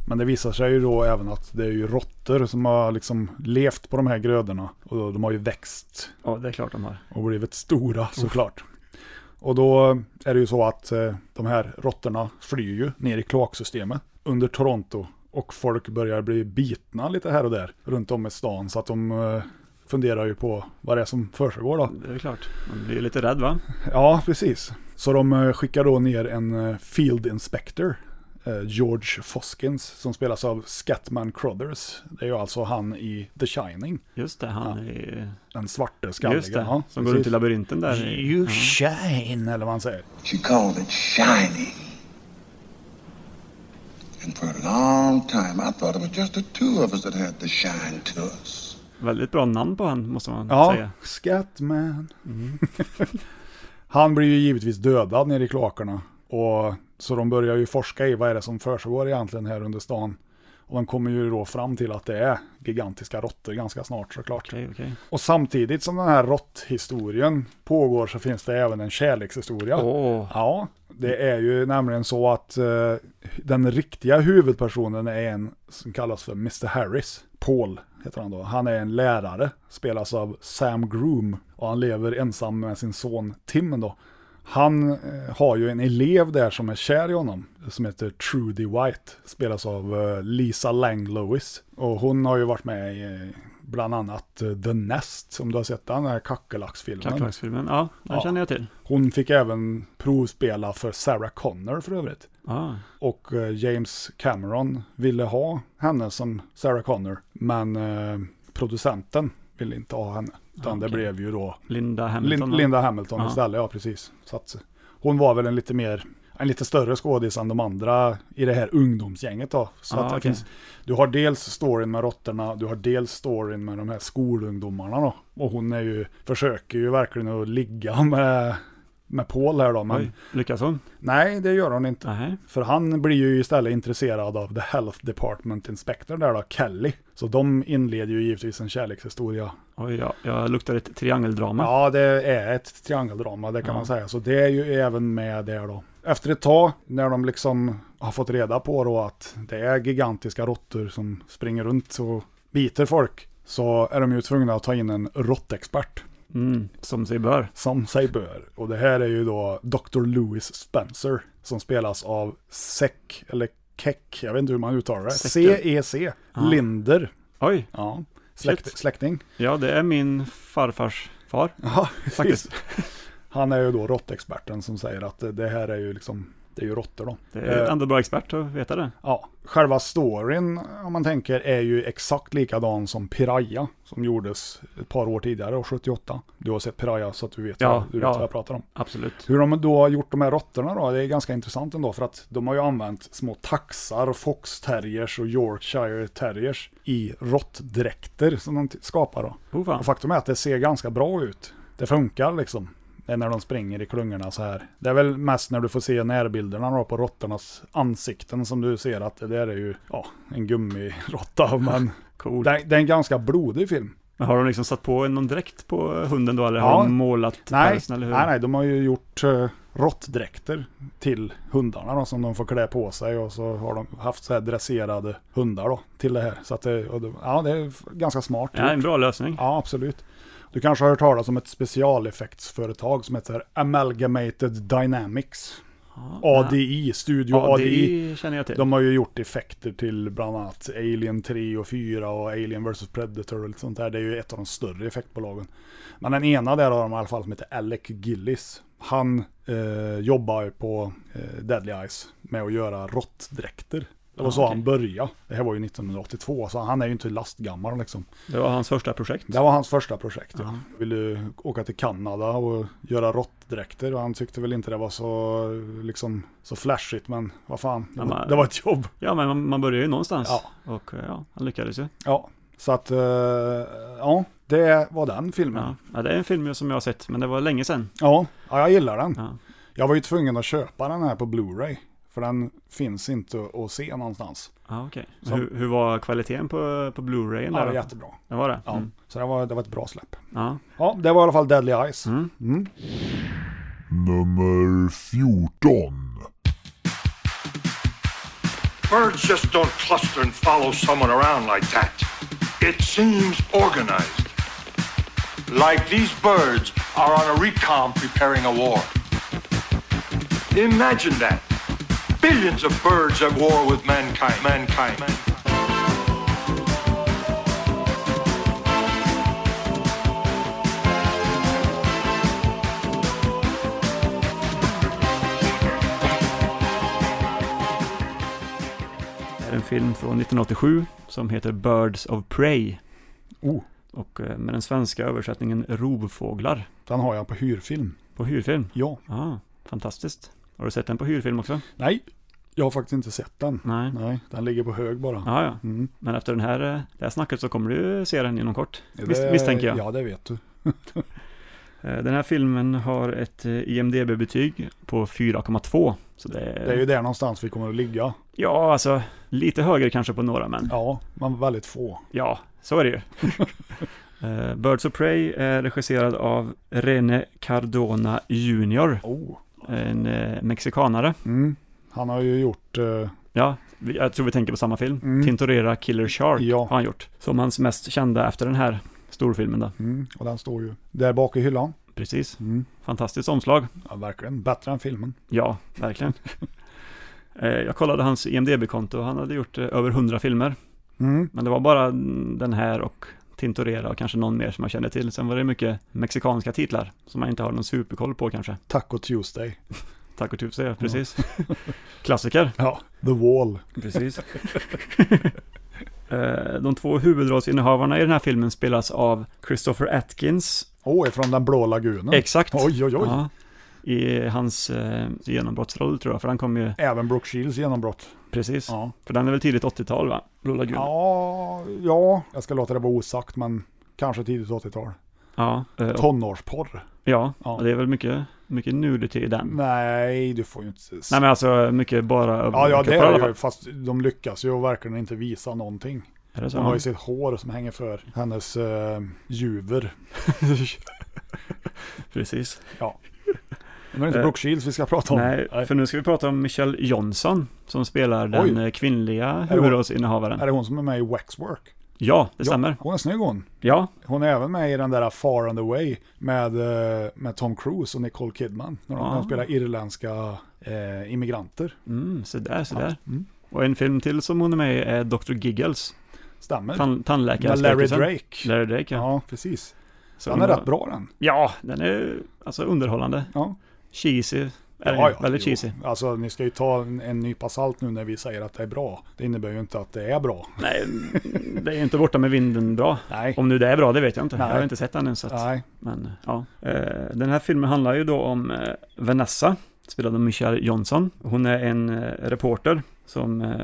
Men det visar sig ju då även att det är ju råttor som har liksom levt på de här grödorna och de har ju växt
Ja, det är klart de har.
och blivit stora såklart. Och då är det ju så att eh, de här råttorna flyr ju ner i kloaksystemet under Toronto och folk börjar bli bitna lite här och där runt om i stan så att de eh, funderar ju på vad det är som försiggår då.
Det är klart. Man blir ju lite rädd va?
Ja, precis. Så de eh, skickar då ner en eh, Field Inspector, eh, George Foskins, som spelas av Scatman Crothers. Det är ju alltså han i The Shining,
Just det, han är...
den svarte skalliga.
Just det,
ja,
som går
precis.
runt i Mm. labyrinten där. i-
You shine, eller vad han säger.
She called it shiny. And for a long time, I thought it was just the two of us that had the shine to us.
Väldigt bra namn på han, måste man
Ja,
säga. Mm.
Scatman. han blir ju givetvis dödad nere i kloakerna. Och, så de börjar ju forska i vad är det som försiggår egentligen här under stan. Och de kommer ju då fram till att det är gigantiska råttor ganska snart såklart.
Okej, okej.
Och samtidigt som den här råtthistorien pågår så finns det även en kärlekshistoria.
Åh.
Ja, det är ju nämligen så att eh, den riktiga huvudpersonen är en som kallas för Mr. Harris. Paul heter han då. Han är en lärare, spelas av Sam Groom. Och han lever ensam med sin son Tim då. Han eh, har ju en elev där som är kär i honom, som heter Trudy White, spelas av eh, Lisa Lang Lewis. Och hon har ju varit med i eh, bland annat eh, The Nest, som du har sett, den här kackerlacksfilmen.
Kackerlacksfilmen, ja, den
Ja.
känner jag till.
Hon fick även provspela för Sarah Connor för övrigt.
Ah.
Och eh, James Cameron ville ha henne som Sarah Connor, men eh, producenten ville inte ha henne. Utan det blev ju då
Linda Hamilton.
Lin-
va?
Linda Hamilton
Ja.
istället, ja precis. Så att, hon var väl en lite mer en lite större skådis än de andra i det här ungdomsgänget då. Så
Ja,
att det
okej.
finns, du har dels storyn med råttorna, du har dels storyn med de här skolungdomarna då. Och hon är ju, försöker ju verkligen att ligga med, med Paul här då. Men
Oj, lyckas hon?
nej, det gör hon inte.
Nej.
För han blir ju istället intresserad av The Health Department Inspector där då, Kelly. Så de inleder ju givetvis en kärlekshistoria
Oj, ja, jag luktar ett triangeldrama.
Ja, det är ett triangeldrama, det kan
Ja.
man säga. Så det är ju även med där då. Efter ett tag, när de liksom har fått reda på då att det är gigantiska råttor som springer runt och biter folk, så är de ju tvungna att ta in en råttexpert,
Mm, som sig bör.
som sig bör. Och det här är ju då Dr. Louis Spencer, som spelas av Sek, eller Keck, jag vet inte hur man uttalar det.
Secker.
C-E-C,
Ja.
Linder.
Oj,
Ja, släkt,
Shit.
släkting.
ja det är min farfars far.
Ja,
Faktiskt.
Han är ju då råttexperten som säger att det- det här är ju liksom, det är ju råttor då.
Det är
Eh,
ändå bra expert att veta det.
ja. Själva storyn, om man tänker, är ju exakt likadan som Piraya, som gjordes ett par år tidigare, år 78. Du har sett Piraya så att du vet,
Ja,
vad, du vet
ja.
vad jag pratar om.
Absolut.
Hur de då har gjort de här råttorna då, det är ganska intressant ändå, för att de har ju använt små taxar, fox terriers och yorkshire terriers i råttdräkter som de t- skapar då.
Oh, fan.
Och faktum är att det ser ganska bra ut. Det funkar liksom. Det är när de springer i klungorna så här. Det är väl mest när du får se närbilderna då på råttornas ansikten som du ser att det där är ju ja, en gummiråtta. Men
Cool.
det, är- det är en ganska blodig film.
Men har de liksom satt på någon dräkt på hunden då, eller
Ja.
har de målat
Nej,
pälsen, eller
nej,
hur?
nej, de har ju gjort uh, råttdräkter till hundarna då, som de får klä på sig och så har de haft så här dresserade hundar då till det här. Så att det, och det, ja, det är f- ganska smart.
Ja, en bra lösning.
Ja, absolut. Du kanske har hört talas om ett specialeffektsföretag som heter Amalgamated Dynamics. ADI, Studio
Ja,
ADI.
det känner jag till.
De har ju gjort effekter till bland annat Alien 3 och 4 och Alien vs Predator och lite sånt där. Det är ju ett av de större effektbolagen. Men den ena där har de i alla fall som heter Alec Gillis. Han eh, jobbar ju på eh, Deadly Eyes med att göra råttdräkter. Det var så
Ah, okej.
han började. Det här var ju 1982, så han är ju inte lastgammal liksom.
Det var hans första projekt.
Det var hans första projekt. Ja. Ville åka till Kanada och göra råttdräkter och han tyckte väl inte det var så, liksom, så flashigt men vad fan, det,
Ja,
var,
men-
det var ett jobb.
Ja, men man, man börjar ju någonstans.
Ja.
Och eh, ja, han lyckades ju.
Ja, så att eh, ja, det var den filmen.
Ja.
Ja,
ja, det är en film som jag har sett, men det var länge sedan.
ja, jag gillar den.
Ja.
Jag var ju tvungen att köpa den här på Blu-ray för den finns inte att se någonstans.
Ja, okej. Men
Som-
Hur, hur var kvaliteten på, på Blu-rayen?
Ja,
där
det
då?
var jättebra.
Det var det?
Ja,
Mm.
Så det var, det var ett bra släpp.
Ja.
Ja, det var i alla fall Deadly Eyes.
Mm.
Mm.
Nummer 14.
Birds just don't cluster and follow someone around like that. It seems organized. Like these birds are on a recon preparing a war. Imagine that. Billions of birds at war with mankind. Mankind. mankind.
Det är en film från 1987 som heter Birds of Prey.
Oh.
Och eh, med den svenska översättningen Rovfåglar
Den har jag på hyrfilm.
på hyrfilm.
Ja.
Ja, fantastiskt. Har du sett den på hyrfilm också?
Nej, jag har faktiskt inte sett den.
Nej.
Nej, den ligger på hög bara.
Ja, ja.
Mm.
Men efter den här, eh, det här snacket så kommer du se den inom kort.
Det-
Mis- misstänker jag.
Ja, det vet du.
Eh, Den här filmen har ett eh, IMDB-betyg på 4,2. Så det är,
Det är ju där någonstans vi kommer att ligga.
Ja, alltså lite högre kanske på några, men
Ja, men väldigt få.
ja, så är det ju. Eh, Birds of Prey är regisserad av Rene Cardona Jr.
Oh.
En eh, mexikanare.
Mm. Han har ju gjort... eh,
Ja, vi- jag tror vi tänker på samma film.
Mm.
Tintorera Killer Shark
Ja.
har han gjort. Som hans mest kända efter den här storfilmen då.
mm, och den står ju där bak i hyllan.
Precis. Fantastiskt omslag.
Ja, verkligen. Bättre än filmen.
Ja, verkligen. Eh, Jag kollade hans IMDB-konto och han hade gjort eh, över 100 filmer.
Mm.
Men det var bara mm, den här och Tintorera och kanske någon mer som jag kände till. Sen var det mycket mexikanska titlar som man inte har någon superkoll på kanske.
Taco Tuesday.
Taco Tuesday, ja, precis. Klassiker.
Ja, The Wall.
Precis. Eh, De två huvudrollsinnehavarna i den här filmen spelas av Christopher Atkins
Åh, från den blå lagunen.
Exakt.
Oj, oj, oj.
Ja. I hans eh, genombrottsroll tror jag, för han kom ju...
Även Brooke Shields genombrott.
Precis.
Ja.
För den är väl tidigt 80-tal va? Blå Lagun.
Ja, ja, jag ska låta det vara osagt, men kanske tidigt 80-tal.
Ja. eh, och-
Tonårsporr.
ja.
Ja.
och det är väl mycket, mycket nudity i den.
Nej, du får ju inte...
Nej men alltså mycket bara
ja, ja, det
överkroppar i alla
är ju,
fall.
fast de lyckas ju verkligen inte visa någonting.
Är det så?
Hon har ju sitt hår som hänger för hennes eh, juver.
Precis.
Ja. Men det är inte
Eh,
Brooke Shields vi ska prata om.
Nej, för nu ska vi prata om Michelle Johnson som spelar den
Oj.
eh, kvinnliga
hon-
huvudrollsinnehavaren.
Är det hon som är med i Waxwork?
Ja,
Ja,
det stämmer.
Hon är snygg hon.
Ja,
Hon är även med i den där Far and Away med, eh, med Tom Cruise och Nicole Kidman. När de,
Ah.
när de spelar irländska eh, immigranter.
mm, så där, så där. Och en film till som hon är med i är Dr. Giggles.
Stämmer.
Tan- tandläkare.
Mm. med Larry
skräckisen.
Drake.
Larry Drake, ja.
Ja, precis.
Så
den är
de-
rätt bra den.
Ja, den är alltså underhållande.
Ja.
Cheesy. Är den
Ja,
ju.
ja,
Väldigt
jo.
cheesy.
Alltså ni ska ju ta en, en nypa salt nu när vi säger att det är bra. Det innebär ju inte att det är bra.
Nej, det är ju inte borta med vinden bra.
Nej.
Om nu det är bra, det vet jag inte.
Nej.
Jag har inte sett den än. Så att,
Nej.
men, ja. Eh, Den här filmen handlar ju då om eh, Vanessa, spelad av Michelle Johnson. Hon är en eh, reporter som, eh,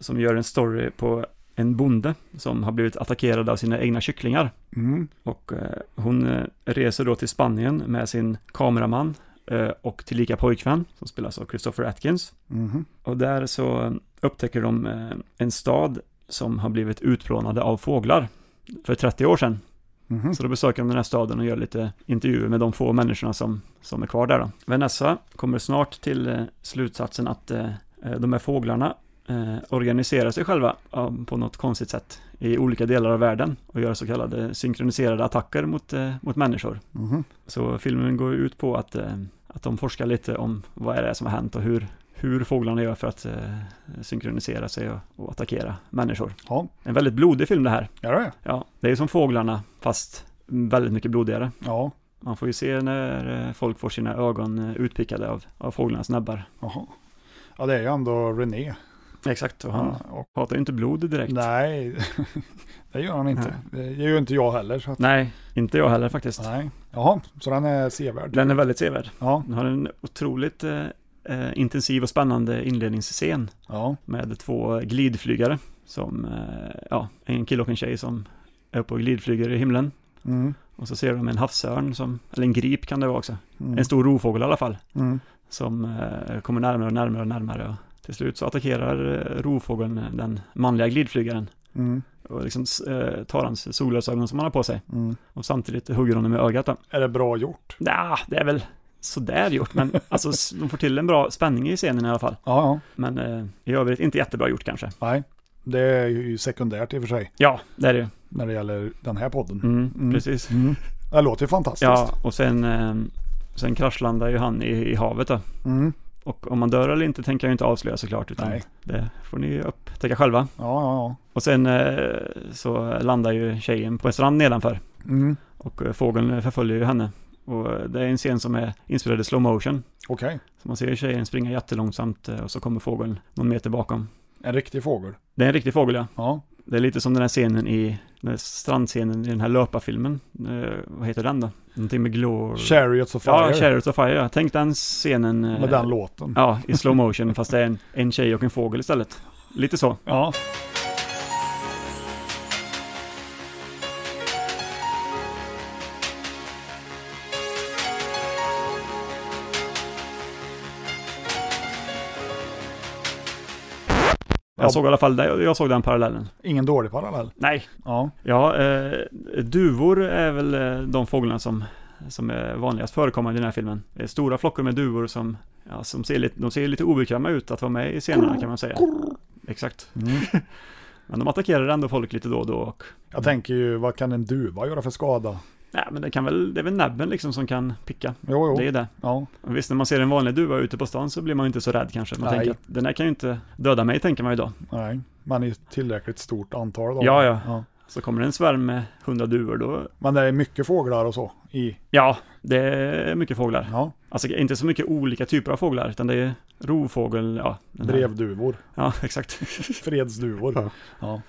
som gör en story på en bonde som har blivit attackerad av sina egna kycklingar.
Mm.
Och eh, hon eh, reser då till Spanien med sin kameraman eh, och tillika pojkvän som spelas av Christopher Atkins.
Mhm.
Och där så eh, upptäcker de eh, en stad som har blivit utplånade av fåglar för 30 år sedan.
Mhm.
Så då besöker de den här staden och gör lite intervjuer med de få människorna som, som är kvar där då. Vanessa kommer snart till eh, slutsatsen att eh, eh, de här fåglarna eh, organiserar sig själva ja, på något konstigt sätt i olika delar av världen och gör så kallade synkroniserade attacker mot, eh, mot människor.
Mhm.
Så filmen går ju ut på att, eh, att de forskar lite om vad är det som har hänt och hur, hur fåglarna gör för att eh, synkronisera sig och, och attackera människor.
Ja,
En väldigt blodig film det här.
är det
Ja, det är ju som fåglarna fast väldigt mycket blodigare.
Ja,
Man får ju se när eh, folk får sina ögon eh, utpickade av, av fåglarnas näbbar.
jaha. Ja, det är ju ändå René.
Exakt, och han
Ja, och,
hatar ju inte blod direkt.
nej, det gör han inte. Det gör ju inte jag heller. Så att,
Nej, inte jag heller faktiskt.
nej. Jaha, så den är sevärd.
Den är väldigt sevärd.
Ja,
Den har en otroligt eh, eh, intensiv och spännande inledningsscen
ja.
med två glidflygare. Som, eh, ja, en kille och en tjej som är uppe och glidflyger i himlen.
Mm.
Och så ser de en havsörn, som, eller en grip kan det vara också.
Mm.
En stor rovfågel i alla fall.
Mm.
som eh, kommer närmare och närmare och närmare. Och till slut så attackerar eh, rovfågeln eh, den manliga glidflygaren
Mm.
och liksom s- eh, tar hans solglasögon som han har på sig
Mm.
och samtidigt hugger honom i ögat. då.
Är det bra gjort?
Nja, det är väl sådär gjort, men alltså s- de får till en bra spänning i scenen i alla fall.
Ja, ja.
Men eh, i övrigt inte jättebra gjort kanske.
Nej, det är ju sekundärt i och för sig
Ja, det är det ju.
när det gäller den här podden.
mm, Precis.
Mm. Det låter ju fantastiskt.
Ja, och sen, eh, sen kraschlandar ju han i, i havet då.
Mm.
Och om man dör eller inte tänker jag inte avslöja såklart, utan
Nej.
det får ni upptäcka själva.
Ja, ja,
Och sen eh, så landar ju tjejen på en strand nedanför
ja. Mm.
och eh, fågeln förföljer ju henne. Och eh, det är en scen som är inspelad i slow motion.
Okej,
Så man ser tjejen springa jättelångsamt eh, och så kommer fågeln någon meter bakom.
en riktig fågel.
Det är en riktig fågel ja.
Ja,
Det är lite som den här scenen i, den här strandscenen i den här löparfilmen. Eh, vad heter den då? Någonting med Glor...
Chariots of Fire
Ja, Chariots of Fire. ja. Tänk den scenen. eh,
med den låten.
Ja, i slow motion fast det är en, en tjej och en fågel istället. Lite så.
Ja. Ja.
Jag såg i alla fall det, jag såg den parallellen.
Ingen dålig parallell.
Nej,
Ja,
Ja, eh, duvor är väl eh, de fåglarna som, som är vanligast förekommande i den här filmen. Det är stora flockar med duvor som, ja, som ser lite, de ser lite obekväma ut att vara med i scenerna kan man säga. Exakt.
Mm.
Men de attackerar ändå folk lite då och då och
jag tänker ju vad kan en duva göra för skada?
Nej, men det, kan väl, det är väl näbben liksom som kan picka.
Jo, jo.
Det är det.
Ja.
Och Visst, när man ser en vanlig duva ute på stan så blir man ju inte så rädd kanske. Man
Nej.
tänker att den här kan ju inte döda mig, tänker man ju då.
Nej, man är ju tillräckligt stort antal då.
Ja, ja. Så kommer det en svärm med hundra duvor då.
Men det är mycket fåglar och så i...
Ja, det är mycket fåglar.
Ja.
Alltså inte så mycket olika typer av fåglar, utan det är rovfågel, ja. den här-
Brevduvor.
Ja, exakt.
Fredsduvor. Ja. Ja.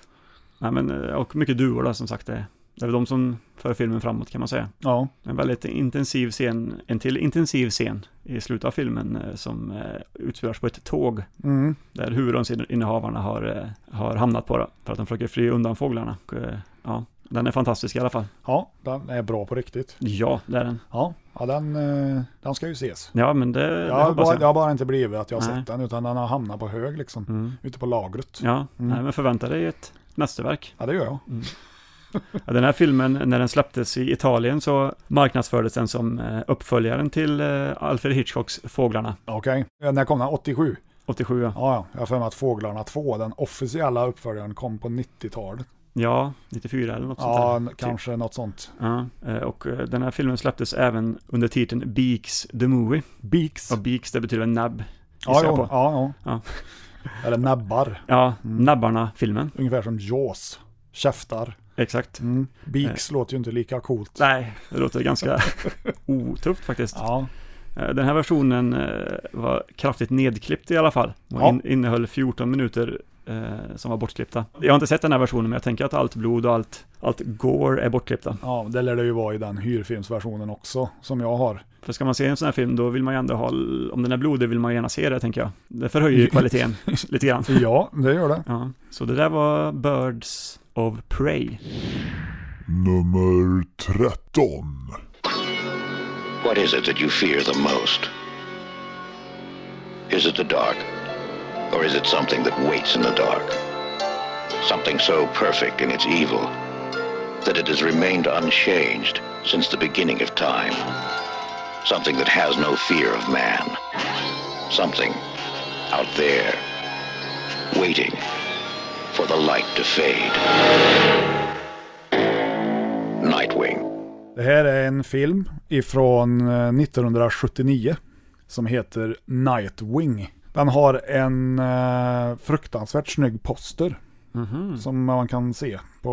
Nej, men, eh, och mycket duvor då, som sagt. Det, det är väl de som för filmen framåt kan man säga.
Ja.
En väldigt intensiv scen, en till intensiv scen i slutet av filmen eh, som eh, utspelas på ett tåg.
Mm.
Där huvudrollsinnehavarna har, eh, har hamnat på då, för att de försöker fly undan fåglarna. Och, eh, ja, den är fantastisk i alla fall.
den är bra på riktigt.
Ja, det är den.
Ja, ja den, eh, den ska ju ses.
Ja, men det,
Jag
det
har,
hoppas
bara,
jag.
jag har bara inte blivit att jag har
Nej.
sett den, utan den har hamnat på hög liksom.
Mm.
Ute på lagret.
Ja, Mm.
Mm.
nej, men förvänta dig ett mästerverk.
Ja, det gör jag.
Ja, den här filmen, när den släpptes i Italien så marknadsfördes den som eh, uppföljaren till eh, Alfred Hitchcocks Fåglarna,
Okej. Eh, När kom den? 87?
87. Ja,
Ja, ja. Jag har för mig att Fåglarna 2, den officiella uppföljaren, kom på 90-talet.
ja 94 eller något
Ja,
sånt
n-
där.
kanske något sånt.
Ja, eh, och eh, den här filmen släpptes även under titeln Beaks the Movie.
Beaks?
Och Beaks, det betyder nabb.
Ja,
gissar jag
jo, ja, Mm.
på.
ja.
Ja.
Eller näbbar.
Ja, Nabbarna-filmen.
Ungefär som Jaws. Käftar.
Exakt.
Mm. Beaks låter ju inte lika coolt.
Nej, det låter ganska otufft faktiskt.
Ja.
Eh, Den här versionen eh, var kraftigt nedklippt i alla fall. Och
Ja.
in, innehöll 14 minuter eh, som var bortklippta. Jag har inte sett den här versionen, men jag tänker att allt blod och allt, allt gore är bortklippta.
ja, det lär det ju vara i den hyrfilmsversionen också, som jag har.
För ska man se en sån här film, då vill man ju ändå ha, om den är blodig vill man ju gärna se det, tänker jag. Det förhöjer ju kvaliteten lite grann.
Ja, det gör det.
Ja. Så det där var Birds of Prey.
Nummer 13.
What is it that you fear the most? Is it the dark? Or is it something that waits in the dark? Something so perfect in its evil that it has remained unchanged since the beginning of time. Something that has no fear of man. Something out there waiting for the light to fade. Nightwing.
Det här är en film ifrån eh, 1979 som heter Nightwing. Den har en eh, fruktansvärt snygg poster som man kan se på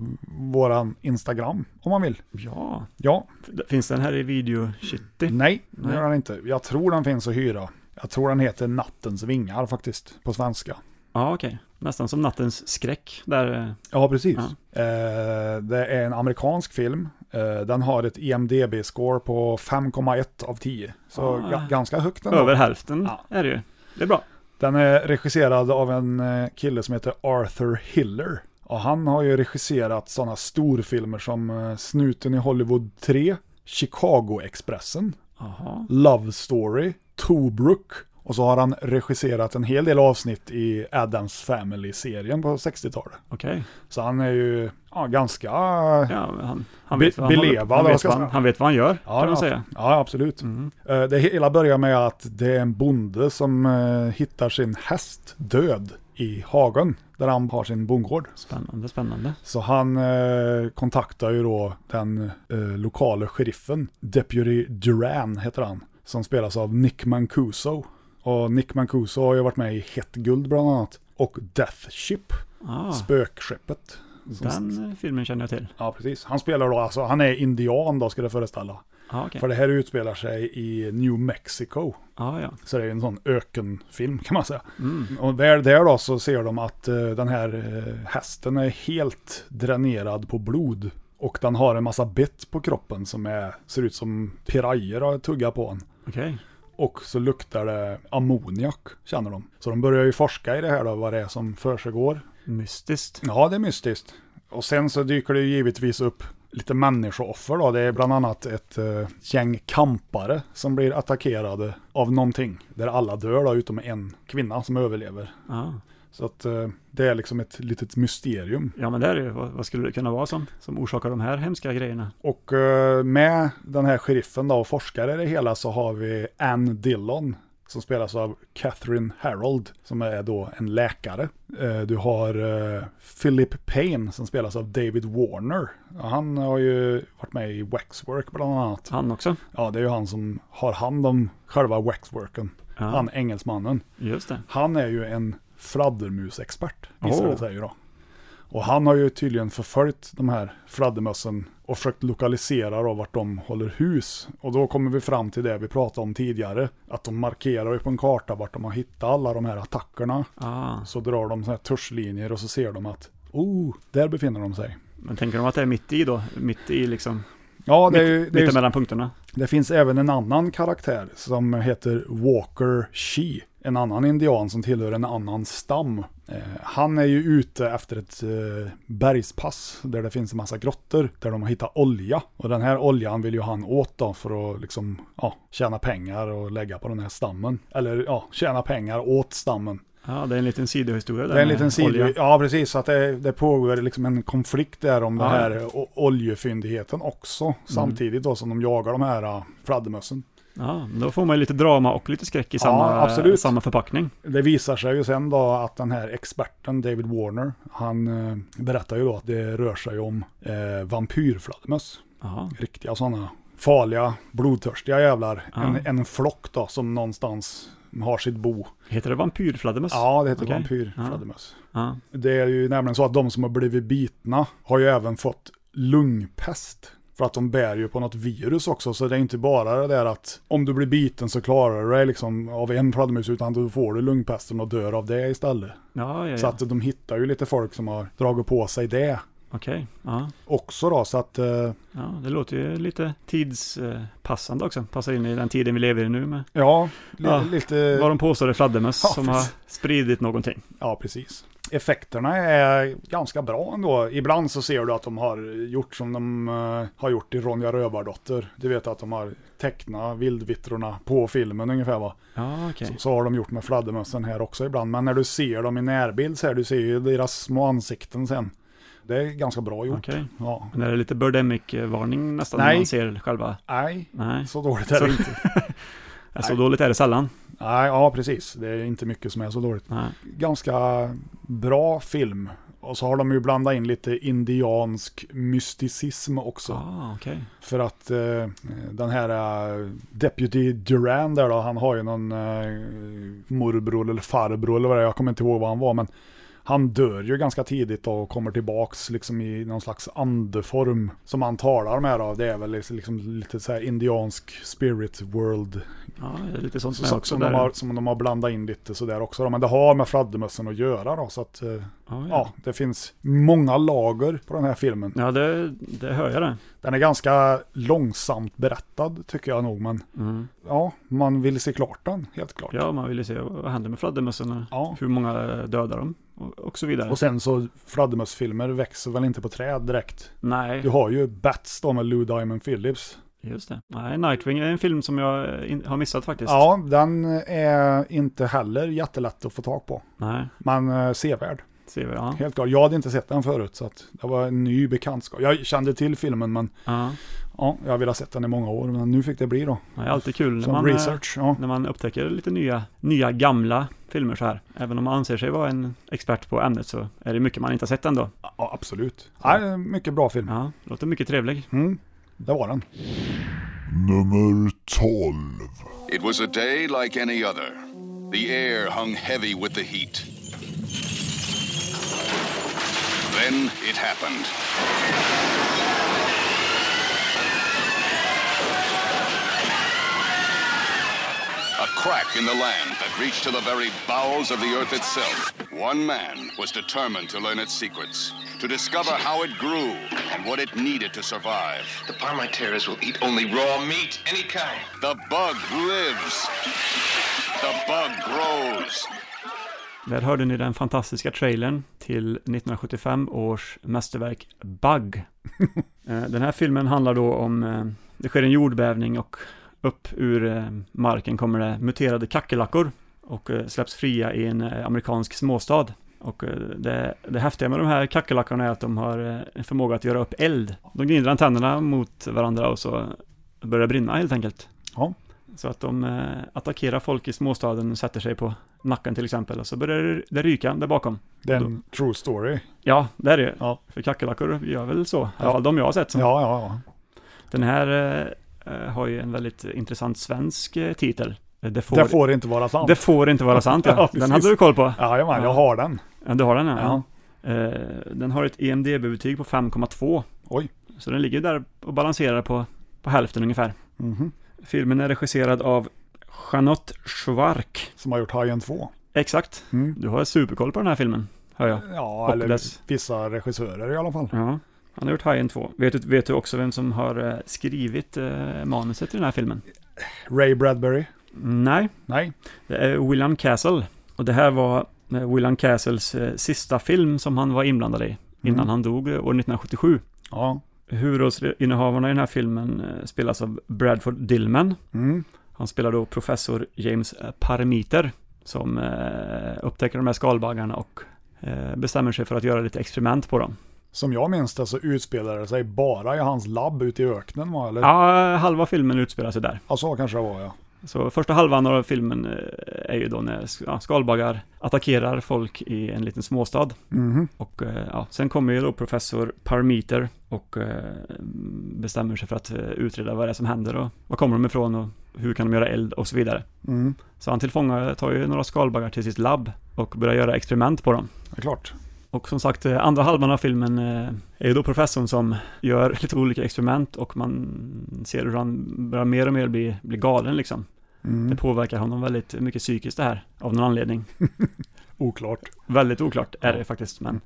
eh, våran Instagram om man vill.
Ja,
Ja,
finns den här i video Shitty?
nej, det gör den inte. Jag tror den finns att hyra. Jag tror den heter Nattens vingar faktiskt, på svenska.
Ja, okej. Nästan som Nattens skräck, där eh,
Ja, precis. Eh, det är en amerikansk film. Eh, den har ett IMDB-score på 5,1 av 10. Så
Ah.
ga- ganska högt ändå.
över hälften
Ja.
är det ju. Det är bra.
Den är regisserad av en eh, kille som heter Arthur Hiller. Och han har ju regisserat sådana storfilmer som eh, Snuten i Hollywood 3, Chicago-expressen,
Jaha.
Love Story, Tobruk. Och så har han regisserat en hel del avsnitt i Addams Family-serien på 60-talet.
Okej.
Så han är ju ja, ganska...
Ja, men han, han,
Be-
vet vad han, håller-
belevad,
han,
vad
vet
ska
vad
jag
han,
säga?
han vet vad han gör,
Ja,
kan man
ja,
säga. Mm.
Ja, absolut. Eh, Det hela börjar med att det är en bonde som eh, hittar sin häst död i hagen där han har sin bondgård.
Spännande, spännande.
Så han eh, kontaktar ju då den eh, lokala sheriffen, Deputy Duran heter han, som spelas av Nick Mancuso. Och Nick Mancuso har ju varit med i Hett Guld bland annat och Death Ship,
Ah,
spökskeppet. Som-
den eh, filmen känner jag till.
Ja, precis. Han spelar då, alltså han är indian då ska det föreställa.
Ah, okej.
För det här utspelar sig i New Mexico.
Ah, ja.
Så det är en sån ökenfilm kan man säga. Och där, där då så ser de att eh, den här eh, hästen är helt dränerad på blod. Och den har en massa bett på kroppen som är, ser ut som pirajer har tuggat på en.
Okej.
Och så luktar det ammoniak, känner de. Så de börjar ju forska i det här då, vad det är som försiggår.
Mystiskt.
Ja, det är mystiskt. Och sen så dyker det ju givetvis upp lite människooffer då. Det är bland annat ett eh, gäng kampare som blir attackerade av någonting. Där alla dör då, utom en kvinna som överlever.
Ah.
Så att eh, det är liksom ett litet mysterium.
Ja, men det är det ju. Vad, vad skulle det kunna vara som, som orsakar de här hemska grejerna?
Och eh, med den här sheriffen då och forskare i det hela så har vi Ann Dillon som spelas av Catherine Harold, som är då en läkare. Eh, Du har eh, Philip Payne, som spelas av David Warner. Ja, Han har ju varit med i Waxwork bland annat.
Han också?
Ja, det är ju han som har hand om själva Waxworken.
Ja.
Han engelsmannen.
Just det.
Han är ju en fladdermusexpert, visar
Oh.
det sig ju då. Och han har ju tydligen förföljt de här fladdermössen och försökt lokalisera då vart de håller hus. Och då kommer vi fram till det vi pratade om tidigare, att de markerar ju på en karta vart de har hittat alla de här attackerna.
Ah.
Så drar de så här tuschlinjer och så ser de att, oh, där befinner de sig.
Men tänker de att det är mitt i då? Mitt i liksom?
Ja, det är
mitt,
ju- det är ju-
mitt mellan punkterna?
Det finns även en annan karaktär som heter Walker She. En annan indian som tillhör en annan stam. Eh, han är ju ute efter ett eh, bergspass där det finns en massa grottor där de har hittat olja. Och den här oljan vill ju han åt då för att liksom, ja, tjäna pengar och lägga på den här stammen. Eller ja, tjäna pengar åt stammen.
Ja, det är en liten sidohistoria där.
Det är en
med
liten sido...
olja.
Ja, precis. Så att det, det pågår liksom en konflikt där om
Ja.
den här o- oljefyndigheten också. Samtidigt då som de jagar de här uh, fladdermössen.
Ja, men då får man ju lite drama och lite skräck i samma,
absolut.
samma förpackning.
Det visar sig ju sen då att den här experten David Warner, han eh, berättar ju då att det rör sig om eh, vampyrfladdermöss. Riktiga sådana farliga, blodtörstiga jävlar.
Ja.
En, en flock då som någonstans har sitt bo.
Heter det vampyrfladdermöss?
Ja, det heter
Okej.
vampyrfladdermöss.
Ja.
Det är ju nämligen så att de som har blivit bitna har ju även fått lungpest. För att de bär ju på något virus också, så det är inte bara det där att om du blir biten så klarar du dig liksom av en fladdermus, utan då får du lungpesten och dör av det istället.
Ja, ja, ja.
Så att de hittar ju lite folk som har dragit på sig det
Okej, ja.
också då, så att... eh,
ja. Det låter ju lite tidspassande också. Passar in i den tiden vi lever i nu med.
Ja, li- lite-
Vad de påstår är fladdermöss
Eh, Ja,
som har
precis.
spridit någonting.
Ja, precis. Effekterna är ganska bra ändå. Ibland så ser du att de har gjort som de eh, har gjort i Ronja Rövardotter. Du vet att de har tecknat vildvittrorna på filmen ungefär va?
Ja, okej.
Så, så har de gjort med fladdermössen här också ibland. Men när du ser dem i närbild så här, du ser ju deras små ansikten sen. Det är ganska bra gjort.
Okej.
Ja.
Men är det lite Birdemic-varning nästan när
Nej.
man ser själva?
Nej,
Nej.
så dåligt är det inte.
Ja, så dåligt är det sällan.
Nej, ja precis. Det är inte mycket som är så dåligt. Ganska bra film. Och så har de ju blandat in lite indiansk mysticism också.
Ah, okej.
För att eh, den här eh, Deputy Duran där då, han har ju någon eh, morbror eller farbror eller vad det är, jag kommer inte ihåg vad han var, men han dör ju ganska tidigt då och kommer tillbaks liksom i någon slags andeform som han talar med då. Det är väl liksom lite så här indiansk spirit world.
Ja, det är lite sånt med
som,
också
som,
där.
de har, som de har blandat in lite sådär också. Då. Men det har med fladdermössen att göra då. Så att eh,
ja.
ja. det finns många lager på den här filmen.
Ja, det, det hör jag det.
Den är ganska långsamt berättad tycker jag nog. Men
Mm.
ja, man vill se klart den helt klart.
Ja, man vill ju se vad händer med fladdermössen. Ja. Hur många dödar de? Och, och så vidare.
Och sen så fladdermössfilmer växer väl inte på träd direkt.
Nej.
Du har ju Bats då med Lou Diamond Phillips.
Just det. Nej, Nightwing är en film som jag in, har missat faktiskt.
Ja, den är inte heller jättelätt att få tag på.
Nej.
Men eh, sevärd.
Sevärd, ja.
Helt klart. Jag hade inte sett den förut så att det var en ny bekantskap. Jag kände till filmen men
Ja.
ja, jag ville ha sett den i många år men nu fick det bli då.
Det är alltid kul när
Som
man, eh,
research. Ja.
när man upptäcker lite nya, nya gamla filmer så här. Även om man anser sig vara en expert på ämnet så är det mycket man inte har sett ändå.
Ja, absolut. Nej, mycket bra film.
Ja, låter mycket trevlig.
Mm, det var den.
Nummer 12.
It was a day like any other. The air hung heavy with the heat. Then it happened. A crack in the land that reached to the very bowels of the earth itself. One man was determined to learn its secrets, to discover how it grew and what it needed to survive. The Parmiteras will eat only raw meat, any kind. The bug lives. The bug grows.
Där hörde ni den fantastiska trailern till 1975 års mästerverk Bug. Eh, den här filmen handlar då om, eh, det sker en jordbävning och upp ur eh, marken kommer det muterade kackerlackor och eh, släpps fria i en eh, amerikansk småstad. Och eh, det, det häftiga med de här kackerlackorna är att de har eh, en förmåga att göra upp eld. De gnider antennerna mot varandra och så börjar det brinna helt enkelt.
Ja.
Så att de eh, attackerar folk i småstaden och sätter sig på nacken till exempel. Och så börjar det- det ryka där bakom.
Det är en true story.
Ja, det är det ju. För kackerlackor gör väl så. I alla fall de jag har sett. Som.
Ja, ja,
Den här eh, eh, har ju en väldigt intressant svensk eh, titel. Eh, Det
Det får inte vara sant.
Det får inte vara sant, ja.
Ja, precis.
den hade du koll på.
Jajamän, jag har den.
Ja, du har den, ja. ja. Eh, den har ett EMDB-betyg på 5,2.
Oj.
Så den ligger där och balanserar på, på hälften ungefär.
Mhm.
Filmen är regisserad av Jeanette Schwark.
Som har gjort Hajen 2.
Exakt.
Mm.
Du har superkoll på den här filmen, hör jag.
Ja,
Och
eller
dess-
vissa regissörer i alla fall.
Ja, han har gjort Hajen 2. Vet du, vet du också vem som har eh, skrivit eh, manuset till den här filmen?
Ray Bradbury.
Nej.
Nej.
Det är William Castle. Och det här var eh, William Castles eh, sista film som han var inblandad i. Innan
Mm.
han dog eh, år 1977.
Ja.
Huvudrollsinnehavarna i den här filmen eh, spelas av Bradford Dillman.
Mm.
Han spelar då professor James eh, Parameter. Som eh, upptäcker de här skalbaggarna och eh, bestämmer sig för att göra lite experiment på dem.
Som jag minns det så utspelade det sig bara i hans labb ute i öknen va? Eller?
Ja, halva filmen utspelar sig där.
ja, så kanske det var ja.
Så första halvan av filmen eh, är ju då när sk- ja, skalbaggar attackerar folk i en liten småstad.
Mhm.
Och eh, ja, sen kommer ju då professor Parameter och eh, bestämmer sig för att eh, utreda vad det är som händer och var kommer de ifrån och hur kan de göra eld och så vidare.
Mm.
Så han tillfångar, tar ju några skalbaggar till sitt labb och börjar göra experiment på dem.
Det är klart.
Och som sagt, eh, andra halvan av filmen eh, är ju då professorn som gör lite olika experiment och man ser hur han börjar mer och mer bli, bli galen liksom.
Mm.
Det påverkar honom väldigt mycket psykiskt det här, av någon anledning.
Oklart.
Väldigt oklart är det faktiskt, men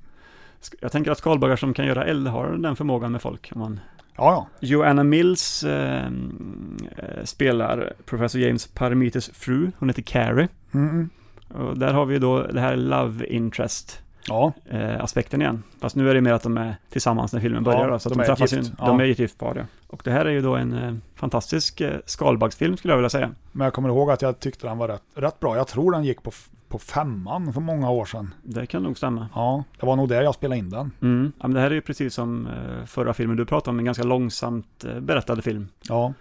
sk- jag tänker att skalbaggar som kan göra eld har den förmågan med folk. Om man...
Ja,
Joanna Mills eh, mm, eh, spelar professor James Parameters fru, hon heter Carrie.
Mm.
Och där har vi då det här love interest.
Ja.
eh, aspekten igen. Fast nu är det mer att de är tillsammans när filmen
Ja,
börjar. då, så att
de
de,
är
träffas
gift.
ju-
Ja.
De är ju ett gift par. Ja. Och det här är ju då en eh, fantastisk eh, skalbaggsfilm skulle jag vilja säga.
Men jag kommer ihåg att jag tyckte den var rätt, rätt bra. Jag tror den gick på, f- på femman för många år sedan.
Det kan nog stämma.
Ja, det var nog där jag spelade in den.
Mm. Ja, men det här är ju precis som eh, förra filmen du pratade om, en ganska långsamt eh, berättad film.
Ja.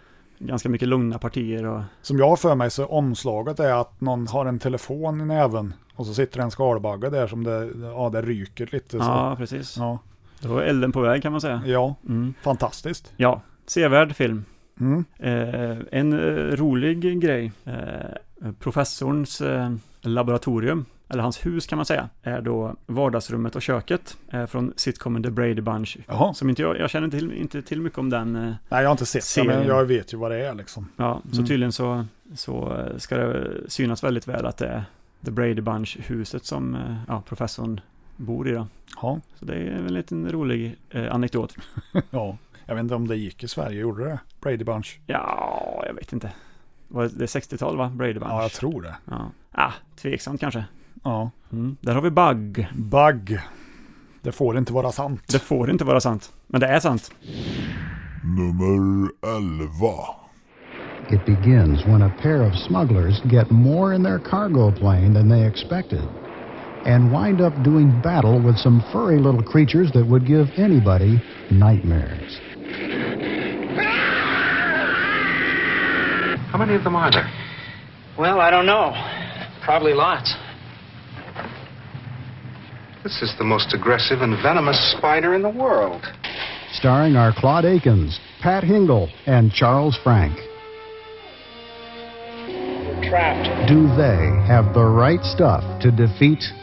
Ganska mycket lugna partier och...
Som jag har för mig så omslaget är att någon har en telefon i näven och så sitter det en skalbagge där som det, ja, det ryker lite. Så.
Ja, precis.
Ja.
Då är elden på väg kan man säga.
Ja,
Mm.
fantastiskt.
Ja, sevärd film.
Mm.
Eh, en eh, rolig grej. Eh, professorns eh, laboratorium, eller hans hus kan man säga, är då vardagsrummet och köket eh, från sitcomen The Brady Bunch.
Jaha.
Som inte jag, jag känner till, inte till mycket om den. Eh,
Nej, jag har inte sett den, men
Serien.
jag vet ju vad det är liksom.
ja, så
Mm.
tydligen så, så eh, ska det synas väldigt väl att det är The Brady Bunch-huset som eh, ja, professorn bor i då.
Ja.
Så det är en liten rolig eh, anekdot.
ja, jag vet inte om det gick i Sverige, gjorde det? Brady Bunch?
Ja, jag vet inte. Var det det är 60-tal va? Brady Bunch?
Ja, jag tror det.
Ja. Ah, tveksamt kanske.
Ja.
Mm. Där har vi bugg.
Bugg. Det får inte vara sant.
Det får inte vara sant. Men det är sant.
Nummer 11.
It begins when a pair of smugglers get more in their cargo plane than they expected and wind up doing battle with some furry little creatures that would give anybody nightmares.
How many of them are there? Well, I don't know. Probably lots. This is the most aggressive and venomous spider in the world.
Starring our Claude Akins, Pat Hingle, and Charles Frank.
Trapped.
Do they have the right stuff to defeat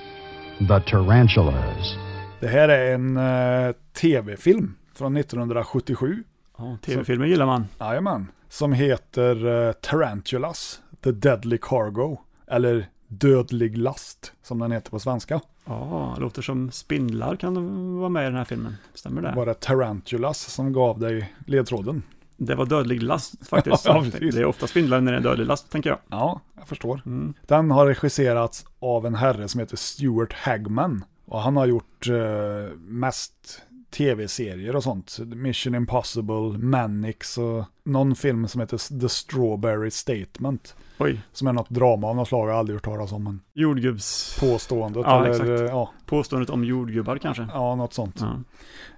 the tarantulas?
Det här är en eh, tv-film från 1977.
Ja, TV-filmer gillar man.
Jajamän. Som heter eh, Tarantulas, The Deadly Cargo. Eller Dödlig Last, som den heter på svenska.
Ja, det låter som spindlar kan vara med i den här filmen. Stämmer det?
Var det Tarantulas som gav dig ledtråden?
Det var dödlig last faktiskt.
Ja, precis.
det är ofta spindlar när det är dödlig last, tänker jag.
Ja, jag förstår.
Mm.
Den har regisserats av en herre som heter Stuart Hagman. Och han har gjort eh, mest tv-serier och sånt. Mission Impossible, Mannix och någon film som heter The Strawberry Statement.
Oj.
Som är något drama av något slag jag aldrig hört talas om. Men
Jordgubbs...
Påståendet.
Ja,
eller,
exakt.
ja.
Påståendet om jordgubbar kanske.
Ja, något sånt.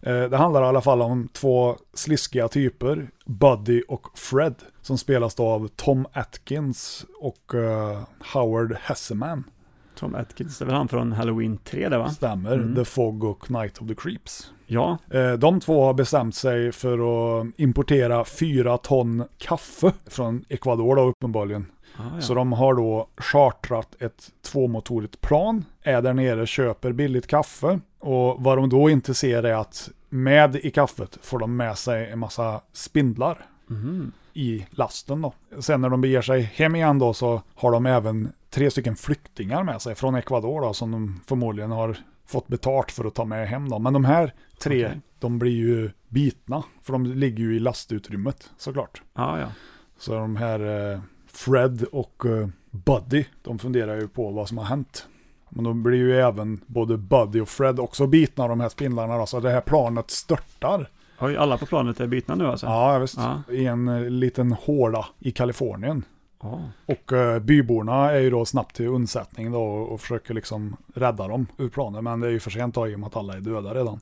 Ja.
Eh, Det handlar i alla fall om två sliskiga typer, Buddy och Fred, som spelas då av Tom Atkins och eh, Howard Hesseman.
Tom Atkins, det är väl han från Halloween 3 där va?
Stämmer,
Mm.
The Fog och Night of the Creeps.
Ja,
Eh, De två har bestämt sig för att importera fyra ton kaffe från Ecuador då uppenbarligen.
Ah, ja.
Så de har då chartrat ett tvåmotorigt plan, är där nere, köper billigt kaffe och vad de då inte ser är att med i kaffet får de med sig en massa spindlar
Mhm.
i lasten då. Sen när de beger sig hem igen då så har de även tre stycken flyktingar med sig från Ecuador då som de förmodligen har fått betalt för att ta med hem då. Men de här tre,
Okej.
de blir ju bitna för de ligger ju i lastutrymmet såklart.
ja, ja.
Så de här eh, Fred och eh, Buddy, de funderar ju på vad som har hänt. Men då blir ju även både Buddy och Fred också bitna av de här spindlarna då, så det här planet störtar.
Har ju alla på planet är bitna nu alltså?
Ja, ja, visst.
Ja.
I en eh, liten håla i Kalifornien.
Ja.
Och eh, byborna är ju då snabbt till undsättning då och, och försöker liksom rädda dem ur planet. Men det är ju för sent då, i och med att alla är döda redan.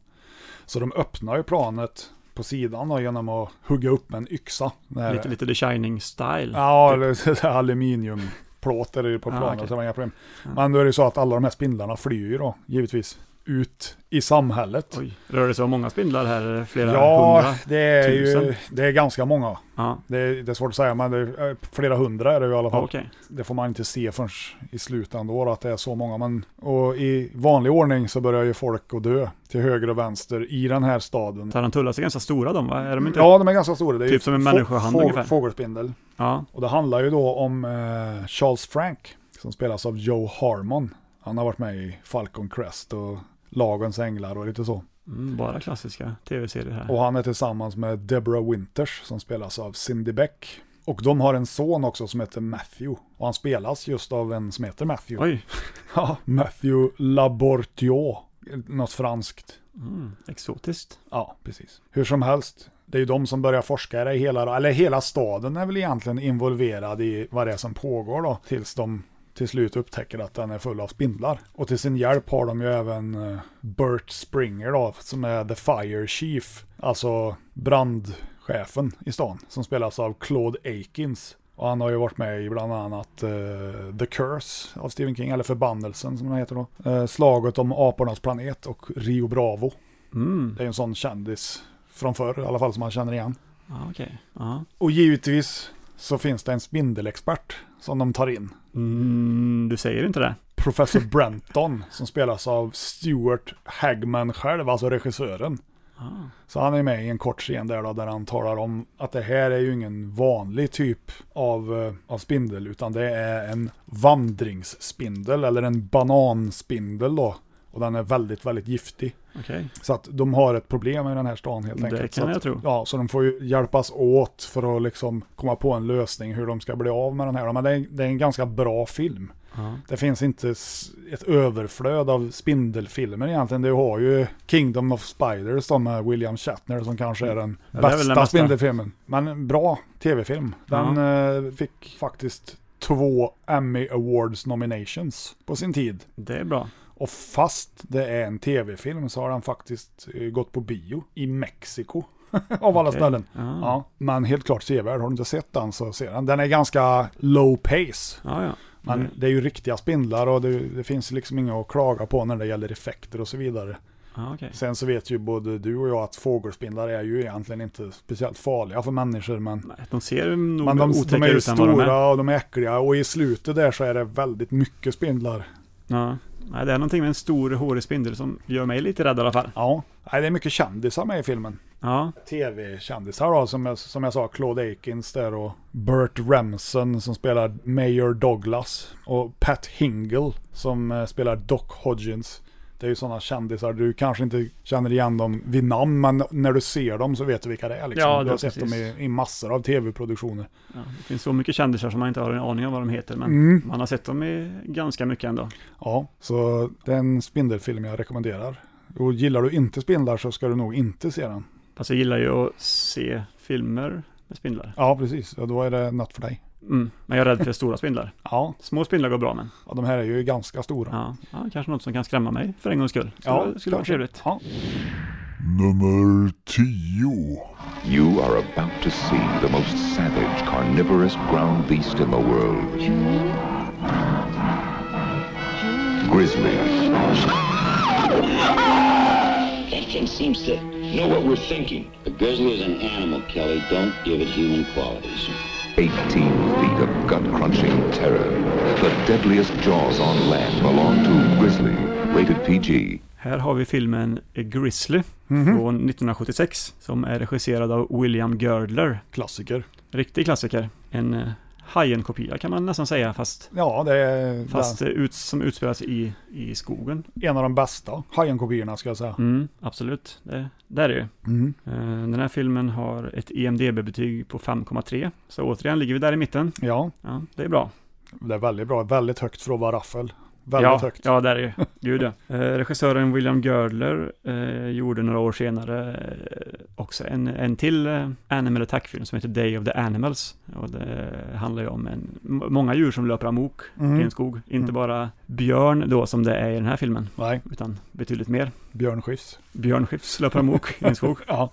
Så de öppnar ju planet på sidan då, genom att hugga upp med en yxa. Den här-
Lite, lite The Shining style.
Ja, eller aluminiumplåtar är ju på
Ah,
planet.
okej. Ah.
så det var inga problem. Men då är det ju så att alla de här spindlarna flyr ju då, givetvis, ut i samhället.
Oj, rör det sig om många spindlar här? Är det Flera
ja,
hundra?
det är ju
tusen?
det är ganska många.
Ja.
Det, är, det är svårt att säga, men det är eh, flera hundra är det ju i alla fall.
Okej.
Det får man inte se förrän i slutändan då, att det är så många. Men, och i vanlig ordning så börjar ju folk att dö till höger och vänster i den här staden.
Tarantulas är ganska stora de va? Är de inte?
Ja, de är ganska stora. Det är
Typ
ju
som en
få-
människohand
fåg-
ungefär.
Fågelspindel.
Ja.
Och det handlar ju då om eh, Charles Frank som spelas av Joe Harmon. Han har varit med i Falcon Crest och Lagens Änglar och lite så.
Mm, bara klassiska tv-serier här.
Och han är tillsammans med Deborah Winters som spelas av Cindy Beck. Och de har en son också som heter Matthew. Och han spelas just av en som heter Matthew.
Oj,
Ja, Matthew Labortio. Något franskt.
mm, exotiskt.
Ja, precis. Hur som helst, det är ju de som börjar forska i det hela, eller hela staden är väl egentligen involverad i vad det är som pågår då, tills de till slut upptäcker att den är full av spindlar. Och till sin hjälp har de ju även eh, Bert Springer då, som är The Fire Chief, alltså brandchefen i stan, som spelas av Claude Akins. Och han har ju varit med i bland annat eh, The Curse av Stephen King, eller Förbannelsen som den heter då. Eh, slaget om apornas planet och Rio Bravo. Det är en sån kändis från förr i alla fall som man känner igen.
Ja, okej. Ja.
Och givetvis så finns det en spindelexpert som de tar in.
Mm, du säger inte det?
Professor Brenton som spelas av Stuart Hagman själv, alltså regissören.
Ja.
Så han är med i en kort scen där, då, där han talar om att det här är ju ingen vanlig typ av, eh, av spindel utan det är en vandringsspindel eller en bananspindel då. Och den är väldigt, väldigt giftig.
Okej.
Så att de har ett problem i den här stan helt
Det
enkelt.
kan
så att,
jag tro.
Ja, så de får ju hjälpas åt för att liksom komma på en lösning hur de ska bli av med den här. Men det är, det är en ganska bra film.
Ja.
Det finns inte s- ett överflöd av spindelfilmer egentligen. Du har ju Kingdom of Spiders då med William Shatner som kanske är den
Mm. Ja, det är väl
bästa,
den bästa.
spindelfilmen. Men en bra tv-film. Den eh, fick faktiskt två Emmy Awards nominations på sin tid.
Det är bra.
Och fast det är en tv-film så har den faktiskt eh, gått på bio i Mexiko. Av alla
Okej.
ställen.
Ah.
Ja, men helt klart sevärd. Har du inte sett den så se den. Den är ganska low pace.
Ja, ja.
Men
Mm.
det är ju riktiga spindlar och det, det finns liksom inga att klaga på när det gäller effekter och så vidare.
Ja, okej.
Sen så vet ju både du och jag att fågelspindlar är ju egentligen inte speciellt farliga för människor. Men
De ser nog
men de, de är
otäckare
ju
ut än vad de är.
stora och de är äckliga och i slutet där så är det väldigt mycket spindlar.
Ja. Nej, det är någonting med en stor hårig spindel som gör mig lite rädd i alla fall.
Ja, Nej, det är mycket kändisar med i filmen.
Ja,
tv-kändisar då, som jag, som jag sa, Claude Akins där och Burt Remsen som spelar Mayor Douglas och Pat Hingle som eh, spelar Doc Hodgins. Det är ju sådana kändisar, du kanske inte känner igen dem vid namn, men när du ser dem så vet du vilka det är. Liksom.
Ja,
du
det
har
är
sett dem
precis.
i, i massor av tv-produktioner.
ja. Det finns så mycket kändisar som man inte har en aning om vad de heter, men
Mm.
man har sett dem i ganska mycket ändå.
Ja, så det är en spindelfilm jag rekommenderar. Och gillar du inte spindlar så ska du nog inte se den.
Alltså jag gillar ju att se filmer med spindlar.
Ja, precis. Ja, då är det något för dig.
Mm, men jag är rädd för stora spindlar.
Ja.
Små spindlar går bra men.
Ja, de här är ju ganska stora.
Ja, ja kanske något som kan skrämma mig för en gångs skull. Så
Ja,
det skulle vara
kanske.
trevligt.
Ja.
Nummer 10.
You are about to see the most savage carnivorous ground beast in the world. Grizzlies.
That thing seems to know what we're thinking. A grizzly is an animal, Kelly. Don't give it human qualities.
18 feet of gut-crunching terror. The deadliest jaws on land belong to Grizzly, rated PG.
Här har vi filmen A Grizzly
Mhm.
från 1976 som är regisserad av William Girdler.
Klassiker.
Riktig klassiker. En eh, Hajen-kopia kan man nästan säga fast,
Ja, det är
fast eh, ut, som utspelas i, i skogen.
den, en av de bästa Hajen-kopiorna ska jag säga.
Mm, absolut, det, det är det ju.
Mm.
Eh, Den här filmen har ett E EMDB-betyg på 5,3. Så återigen ligger vi där i mitten.
Ja.
ja det är bra.
Det är väldigt bra. Väldigt högt för att vara raffel. Väldigt
ja,
högt.
Ja, det är det ju. Gud ja. Eh, regissören William Girdler eh, gjorde några år senare eh, också en, en till eh, Animal Attack-film som heter Day of the Animals. Och det handlar ju om en, m- många djur som löper amok
Mm.
i en skog. Inte
Mm.
bara björn då som det är i den här filmen,
Nej,
utan betydligt mer.
Björn Skifs.
Björn Skifs löper amok i en skog.
ja.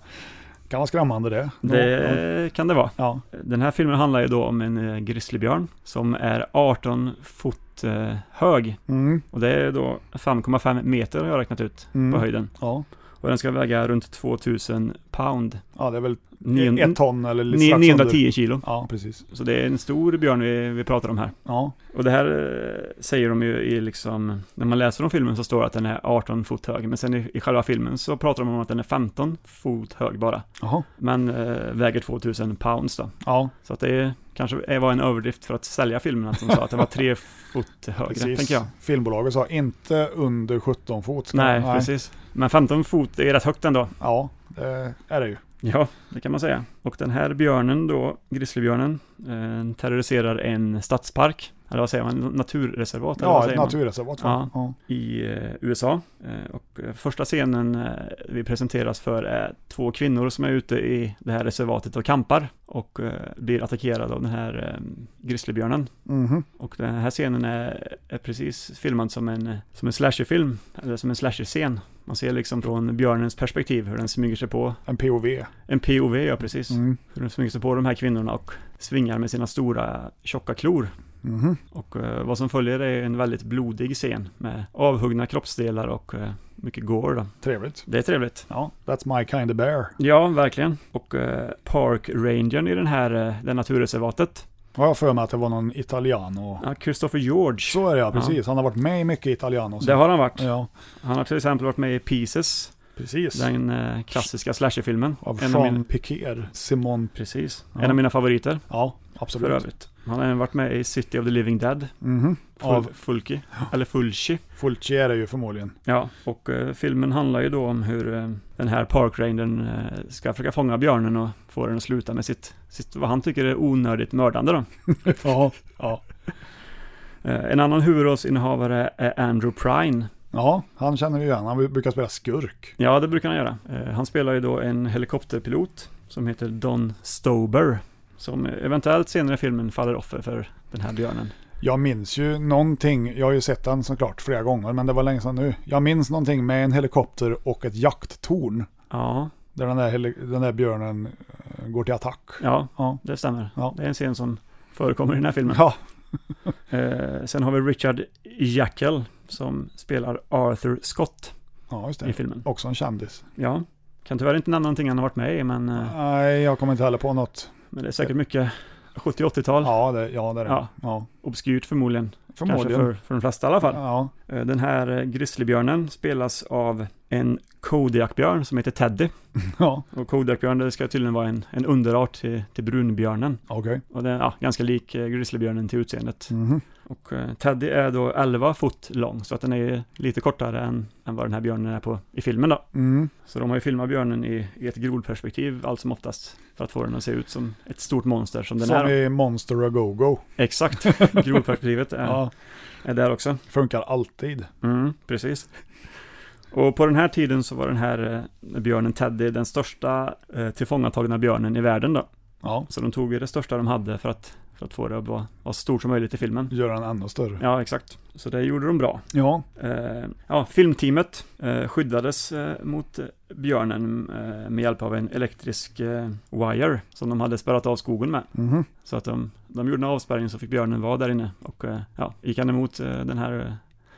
Kan vara skrämmande det.
Det kan det vara.
Ja.
Den här filmen handlar ju då om en eh, grizzlybjörn som är 18 fot eh, hög.
Mm.
Och det är då 5,5 meter har jag räknat ut
Mm.
på höjden.
Ja.
Och den ska väga runt 2000 pound.
ja, det är väl
Nion-
ett ton eller lite
ni-
strax
910
under.
kilo.
Ja, precis.
Så det är en stor björn vi, vi pratar om här.
Ja.
Och det här eh, säger de ju i liksom, när man läser om filmen så står det att den är 18 fot hög, men sen i, i själva filmen så pratar de om att den är 15 fot hög bara.
Jaha.
Men eh, väger 2000 pounds då.
Ja.
Så att det är, kanske är- var en överdrift för att sälja filmen att de sa att den var 3 fot högre, tänker jag.
Filmbolaget sa inte under 17 fot. ska-
Nej, precis. Men 15 fot är rätt högt ändå.
Ja, det är det ju.
Ja, det kan man säga. Och den här björnen då, grizzlybjörnen, eh, terroriserar en stadspark, eller vad säger man, naturreservat? eller vad
Ja, ett
säger man?
naturreservat.
Ja,
va? Ja.
i eh, USA. Eh, Och eh, första scenen eh, vi presenteras för är två kvinnor som är ute i det här reservatet och kampar och eh, blir attackerade av den här eh, grizzlybjörnen.
Mhm.
Och den här scenen är, är precis filmad som en, som en slasherfilm, eller som en slasherscen. Man ser liksom från björnens perspektiv hur den smyger sig på.
En POV.
En POV, ja precis.
Mm.
Hur den smyger sig på de här kvinnorna och svingar med sina stora tjocka klor.
Mhm.
Och eh, vad som följer är en väldigt blodig scen med avhuggna kroppsdelar och eh, mycket gore då.
Trevligt.
Det är trevligt.
Ja, that's my kind of bear.
Ja, verkligen. Och eh, Park Rangern i den här, eh, det här naturreservatet,
Ja, jag har för mig att det var någon italiano.
ja, Christopher George.
Så är det ja, precis. Han har varit med i mycket italiano.
Det har han varit.
Ja,
Han har till exempel varit med i Pieces,
precis.
den eh, klassiska slasherfilmen.
Av
En av
Jean
mina-
Piquer. Simon.
Precis.
Ja.
En av mina favoriter,
Ja,
för
absolut.
övrigt. Han har även varit med i City of the Living Dead,
Mhm.
Ful-
Av
Fulci, eller Fulci.
Fulci är det ju förmodligen.
Ja, och eh, filmen handlar ju då om hur eh, den här parkrangern eh, ska försöka fånga björnen och få den att sluta med sitt, sitt vad han tycker är onödigt mördande då.
ja, ja.
Eh, en annan huvudrollsinnehavare är Andrew Prine.
ja, han känner vi igen. Han brukar spela skurk.
Ja, det brukar han göra. Eh, han spelar ju då en helikopterpilot som heter Don Stober, som eventuellt senare i filmen faller offer för den här björnen.
Jag minns ju någonting. Jag har ju sett den såklart flera gånger, men det var länge sedan nu. Jag minns någonting med en helikopter och ett jakttorn.
Ja,
Där den där, heli- den där björnen eh, går till attack.
ja,
Ja.
det stämmer.
Ja.
Det är en scen som förekommer i den här filmen.
Ja,
Eh, sen har vi Richard Jackal som spelar Arthur Scott
ja just
i
det.
filmen.
Också en kändis.
Ja, kan tyvärr inte nämna någonting han har varit med i, men, eh,
Nej, jag kommer inte heller på något.
men det är säkert mycket 70-80-tal.
Ja, det, ja, det är det.
Ja.
Ja. Ja.
Obskyrt förmodligen. Kanske
Förmodligen.
för, för de flesta i alla fall.
Ja.
Eh, Den här eh, grizzlybjörnen spelas av en Kodiakbjörn som heter Teddy.
ja.
Och Kodiakbjörn det ska tydligen vara en, en underart till, till brunbjörnen.
Okej.
Och den är ja, ganska lik eh, grizzlybjörnen till utseendet.
Mhm.
Och eh, Teddy är då 11 fot lång, så att den är ju lite kortare än, än vad den här björnen är på, i filmen då.
Mm.
Så de har ju filmat björnen i, i ett grodperspektiv allt som oftast för att få den att se ut som ett stort monster som den
Som
är.
i Monster A Go-Go.
Exakt, grodperspektivet är,
Ja.
är där också.
Funkar alltid.
Mm, precis. Och på den här tiden så var den här eh, björnen Teddy den största eh, tillfångatagna björnen i världen då.
Ja.
Så de tog ju det största de hade för att, för att få det att vara, vara så stort som möjligt i filmen.
Göra den ännu större.
Ja, exakt. Så det gjorde de bra.
Ja.
Eh, ja, filmteamet eh, skyddades eh, mot eh, björnen eh, med hjälp av en elektrisk eh, wire som de hade spärrat av skogen med.
Mhm.
Så att de, de gjorde en avspärrning så fick björnen vara där inne och eh, ja, gick han emot eh, den här eh,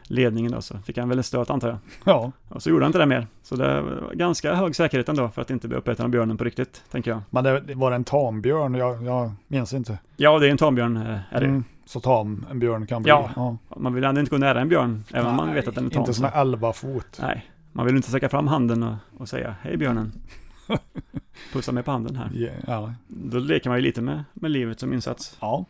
ledningen då så fick han väl en stöt antar jag.
Ja.
Och så gjorde han inte det mer. Så det var ganska hög säkerhet ändå för att inte bli uppäten av björnen på riktigt, tänker jag.
Men det, det var det en tambjörn? Jag, jag minns inte.
Ja, det är en tambjörn eh, är det ju.
Mm, Så tam en björn kan bli.
Ja. man vill ändå inte gå nära en björn, även om man
Nej,
vet att den är tam.
Inte som
så-
är 11 fot.
Nej, man vill inte sträcka fram handen och, och säga hej björnen. Pussa mig på handen här.
Ja, ja.
Då leker man ju lite med, med livet som insats.
Ja.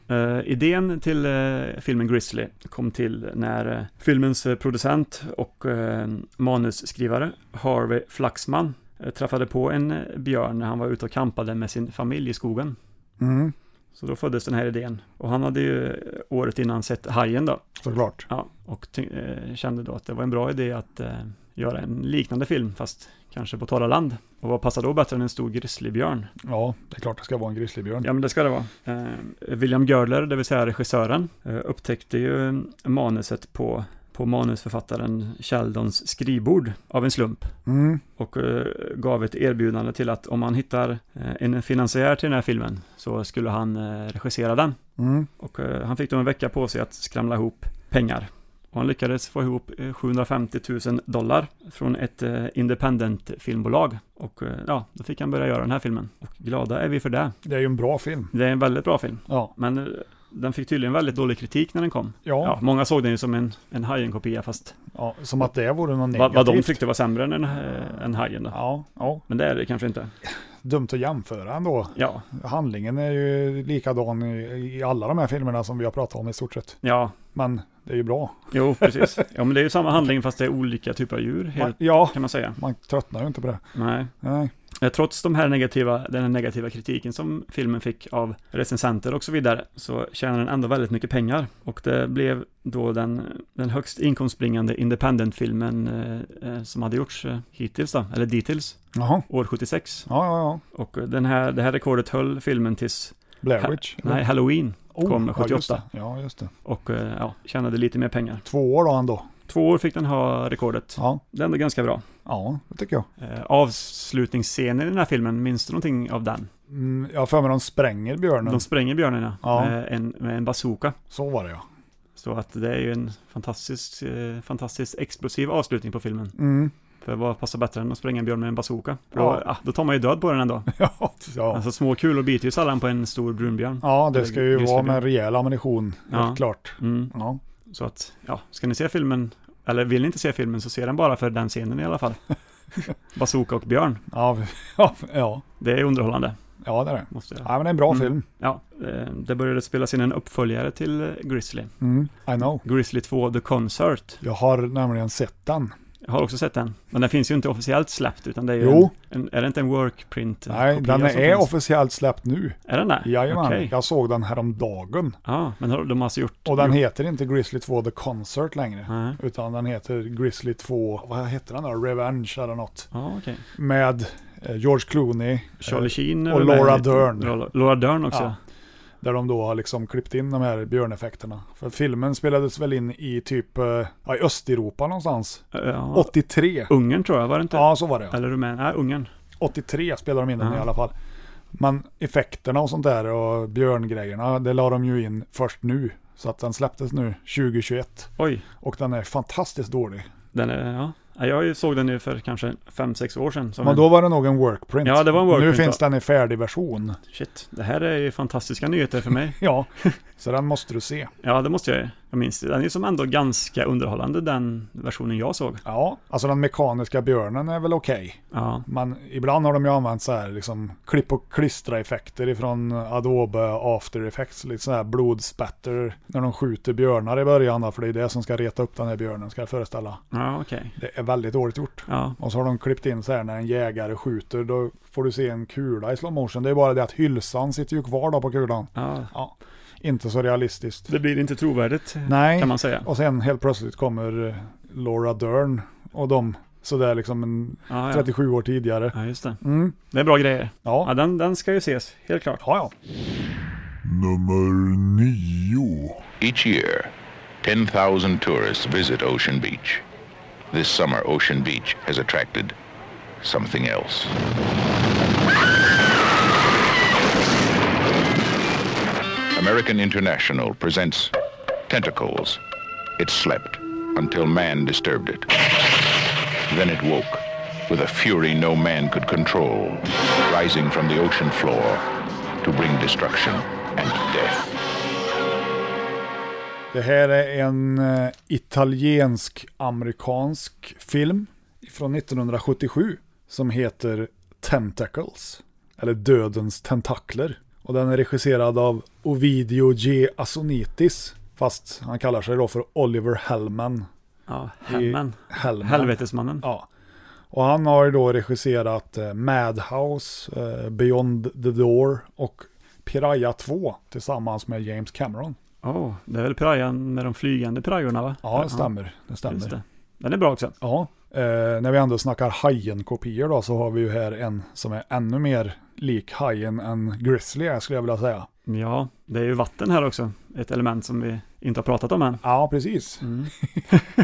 idén till eh, filmen Grizzly kom till när eh, filmens eh, producent och eh, manusskrivare Harvey Flaxman eh, träffade på en eh, björn när han var ute och kampade med sin familj i skogen.
Mm.
Så då föddes den här idén. Och han hade ju eh, året innan sett Hajen då.
Såklart.
Ja, och ty- eh, kände då att det var en bra idé att eh, göra en liknande film, fast kanske på torra land. Och vad passar då bättre än en stor grizzlybjörn?
Ja, det är klart det ska vara en grizzlybjörn.
Ja, men det ska det vara. Eh, William Görler, det vill säga regissören, eh, upptäckte ju eh, manuset på, på manusförfattaren Sheldons skrivbord av en slump
Mm.
och eh, gav ett erbjudande till att om man hittar eh, en finansiär till den här filmen så skulle han eh, regissera den.
Mm.
Och eh, han fick då en vecka på sig att skramla ihop pengar. Och han lyckades få ihop eh, 750 000 dollar från ett eh, independent filmbolag. Och eh, ja, då fick han börja göra den här filmen. Och glada är vi för det.
Det är ju en bra film.
Det är en väldigt bra film.
Ja.
Men eh, den fick tydligen väldigt dålig kritik när den kom.
Ja.
många såg den ju som en, en Hajen-kopia fast
Ja, som att det vore något
vad,
negativt.
vad de tyckte var sämre än, eh, än Hajen då.
Ja, ja.
Men det är det kanske inte.
Dumt att jämföra ändå.
Ja.
Handlingen är ju likadan i, i alla de här filmerna som vi har pratat om i stort sett.
Ja,
Men det är ju bra.
jo precis. Ja men det är ju samma handling fast det är olika typer av djur helt,
ja.
kan man säga.
Man tröttnar ju inte på det.
Nej.
Nej.
Eh, Trots de här negativa, den här negativa kritiken som filmen fick av recensenter och så vidare så tjänade den ändå väldigt mycket pengar och det blev då den, den högst inkomstbringande independent-filmen eh, eh, som hade gjorts eh, hittills då, eller dittills,
Jaha.
år 76.
Ja, ja, ja.
Och eh, den här, det här rekordet höll filmen tills
Blair Witch.
nej, Halloween
Oh,
kom
ja, just
78
det. Ja, just det.
och eh, ja, tjänade lite mer pengar.
Två år då ändå.
Två år fick den ha rekordet.
Ja.
Det är ändå ganska bra.
Ja, det tycker jag.
Eh, avslutningsscenen i den här filmen, minns du någonting av den?
Mm, jag har för mig de spränger björnen.
De spränger björnarna
Ja.
med, en, med en bazooka.
Så var det ja.
Så att det är ju en fantastisk, eh, fantastisk explosiv avslutning på filmen.
Mm.
För vad passar bättre än att spränga en björn med en bazooka? För
Ja.
Då, ah, då tar man ju död på den ändå.
Ja, ja.
Alltså små kulor biter ju sällan på en stor brunbjörn.
ja det
Eller
ska ju vara
grizzlybjörn.
med rejäl ammunition.
Ja.
Helt klart.
Mm.
Ja.
Så att, ja, ska ni se filmen, eller vill ni inte se filmen så se den bara för den scenen i alla fall. bazooka och björn,
Ja, ja, ja.
det är underhållande.
ja, det är det.
Måste jag.
Ja, men det är en bra
Mm.
film.
Ja, eh, det började spelas in en uppföljare till eh, Grizzly.
Mm. I know.
Grizzly 2 The Concert.
Jag har nämligen sett den.
Jag har också sett den. Men den finns ju inte officiellt släppt utan det är ju
Jo.
En, en, Är det inte en workprint?
Nej, den är officiellt släppt nu.
Är den det?
Jajamän,
Okej.
jag såg den häromdagen.
Ja, men har- de har alltså gjort...
Och den
gjort-
heter inte Grizzly 2 The Concert längre.
Nej.
Utan den heter Grizzly 2, vad heter den då? Revenge eller något.
Ja, okej.
Med eh, George Clooney.
Charlie
eh,
Sheen. är
och
väl med
Laura
lite.
Dern.
Laura- Laura Dern också.
Ja. Där de då har liksom klippt in de här björneffekterna. För filmen spelades väl in i typ eh, ja, i Östeuropa någonstans.
Ja.
83.
Ungern tror jag, var det inte?
Ja, så var det. ja.
Eller Rumänien? Nej, Ungern.
83 spelade de in den
Ja.
i alla fall. Men effekterna och sånt där och björngrejerna, det la de ju in först nu. Så att den släpptes nu 2021.
Oj,
Och den är fantastiskt dålig.
den är... Ja. Ja, Jag ju- såg den ju för kanske 5-6 år sedan. som
Men
en-
då var det nog en workprint.
Ja, det var en workprint,
Nu finns
ja.
den i färdig version.
Shit, det här är ju fantastiska nyheter för mig.
Ja, så den måste du se.
ja, det måste jag ju. Jag minns det. Den är ju som ändå ganska underhållande, den versionen jag såg.
Ja, alltså den mekaniska björnen är väl okej.
Ja.
Men ibland har de ju använt så här liksom klipp och klistra effekter ifrån Adobe After Effects. Lite så här blodspatter när de skjuter björnar i början. då, För det är det som ska reta upp den här björnen ska jag föreställa.
Ja, okej.
Det är väldigt dåligt gjort.
Ja,
Och så har de klippt in så här när en jägare skjuter. Då får du se en kula i slow motion. Det är bara det att hylsan sitter ju kvar då på kulan.
ja.
Ja, inte så realistiskt.
Det blir inte trovärdigt
Nej.
kan man säga.
Och sen helt plötsligt kommer eh, Laura Dern och de sådär liksom en
Ja, ja.
37 år tidigare.
Ja, just det.
Mm.
Det är bra grejer.
Ja.
den, den ska ju ses, helt klart.
Ja,
Nummer nio.
Each year, 10,000 tourists visit Ocean Beach. This summer, Ocean Beach has attracted something else. American International presents Tentacles. It slept until man disturbed it. Then it woke with a fury no man could control, rising from the ocean floor to bring destruction and death.
Det här är en eh, italiensk-amerikansk film från 1977 som heter Tentacles, eller Dödens tentakler. Och den är regisserad av Ovidio G. Asonitis, fast han kallar sig då för Oliver Hellman.
Ja,
I-
Hellman.
Hellman.
Helvetesmannen.
Ja. Och han har ju då regisserat eh, Madhouse, eh, Beyond the Door och Piraya 2 tillsammans med James Cameron.
Oh, det är väl prajan med de flygande prajorna va?
Ja, det stämmer. Det stämmer.
Just det. Den är bra också.
Ja, eh, när vi ändå snackar Hajen-kopior då så har vi ju här en som är ännu mer lik Hajen än Grizzly är, skulle jag vilja säga.
Ja, det är ju vatten här också. Ett element som vi inte har pratat om än.
Ja, precis.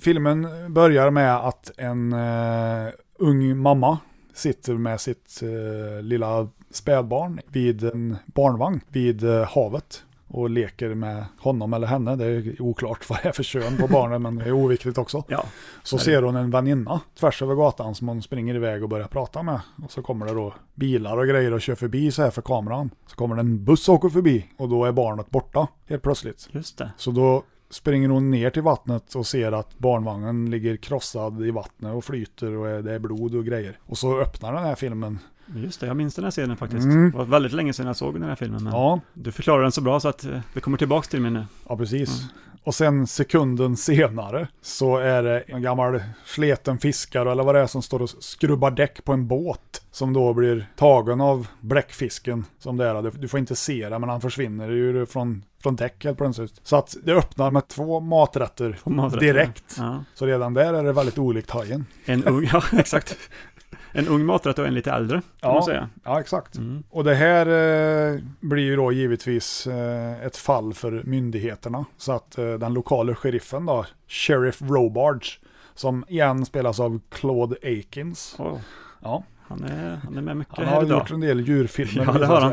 Filmen börjar med att en eh, ung mamma sitter med sitt eh, lilla spädbarn vid en barnvagn vid eh, havet och leker med honom eller henne. Det är oklart vad det är för kön på barnen men det är oviktigt också. Så
det är
ser hon en väninna tvärs över gatan som hon springer iväg och börjar prata med. Och så kommer det då bilar och grejer och kör förbi så här för kameran. Så kommer det en buss och åker förbi och då är barnet borta helt plötsligt.
Just det.
Så då springer hon ner till vattnet och ser att barnvagnen ligger krossad i vattnet och flyter och är- det är blod och grejer. Och så öppnar den här filmen.
Just det, jag minns den här scenen faktiskt.
Mm.
Det var väldigt länge sedan jag såg den här filmen. Men
Ja.
Du förklarar den så bra så att eh, det kommer tillbaks till mig nu.
Ja, precis.
Mm.
Och sen sekunden senare så är det en gammal sleten fiskare eller vad det är som står och skrubbar däck på en båt som då blir tagen av bläckfisken som det är. Du- Du får inte se det men han försvinner ju från, från däck helt plötsligt. Så att det öppnar med två maträtter,
maträtter,
direkt.
ja.
Så redan där är det väldigt olikt hajen.
En ung, ja exakt. En ung maträtt och en lite äldre, kan
Ja.
man säga. Mm.
Ja, exakt. Och det här eh, blir ju då givetvis eh, ett fall för myndigheterna. Så att eh, den lokala sheriffen då, Sheriff Robards, som igen spelas av Claude Akins. Ja.
Han är, han är med mycket
Han
här
har
idag.
gjort en del djurfilmer.
Ja, det har han.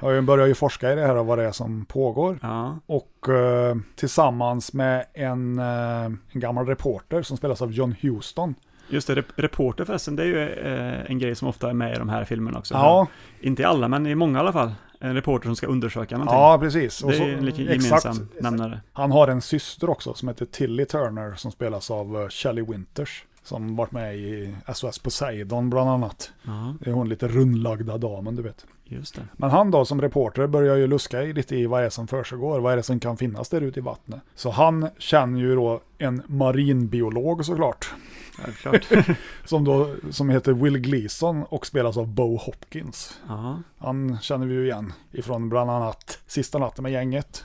Ja. Jag börjar ju forska i det här och vad det är som pågår. Och eh, tillsammans med en, eh, en gammal reporter som spelas av John Huston.
Just det, rep- reporter förresten, det är ju eh, en grej som ofta är med i de här filmerna också.
Ja.
Inte i alla, men i många i alla fall. En reporter som ska undersöka någonting.
Ja, precis.
Det är en lika gemensam nämnare.
Han har en syster också som heter Tilly Turner som spelas av eh, Shelley Winters. Som varit med i SOS Poseidon bland annat.
Ja.
Det är hon lite rundlagda damen, du vet.
Just det.
Men han då som reporter börjar ju luska i lite i vad det är som försiggår, vad är det som kan finnas där ute i vattnet. Så han känner ju då en marinbiolog såklart.
Självklart.
som, då, som heter Will Gleason och spelas av Bo Hopkins.
Ja.
Han känner vi ju igen ifrån bland annat Sista natten med gänget.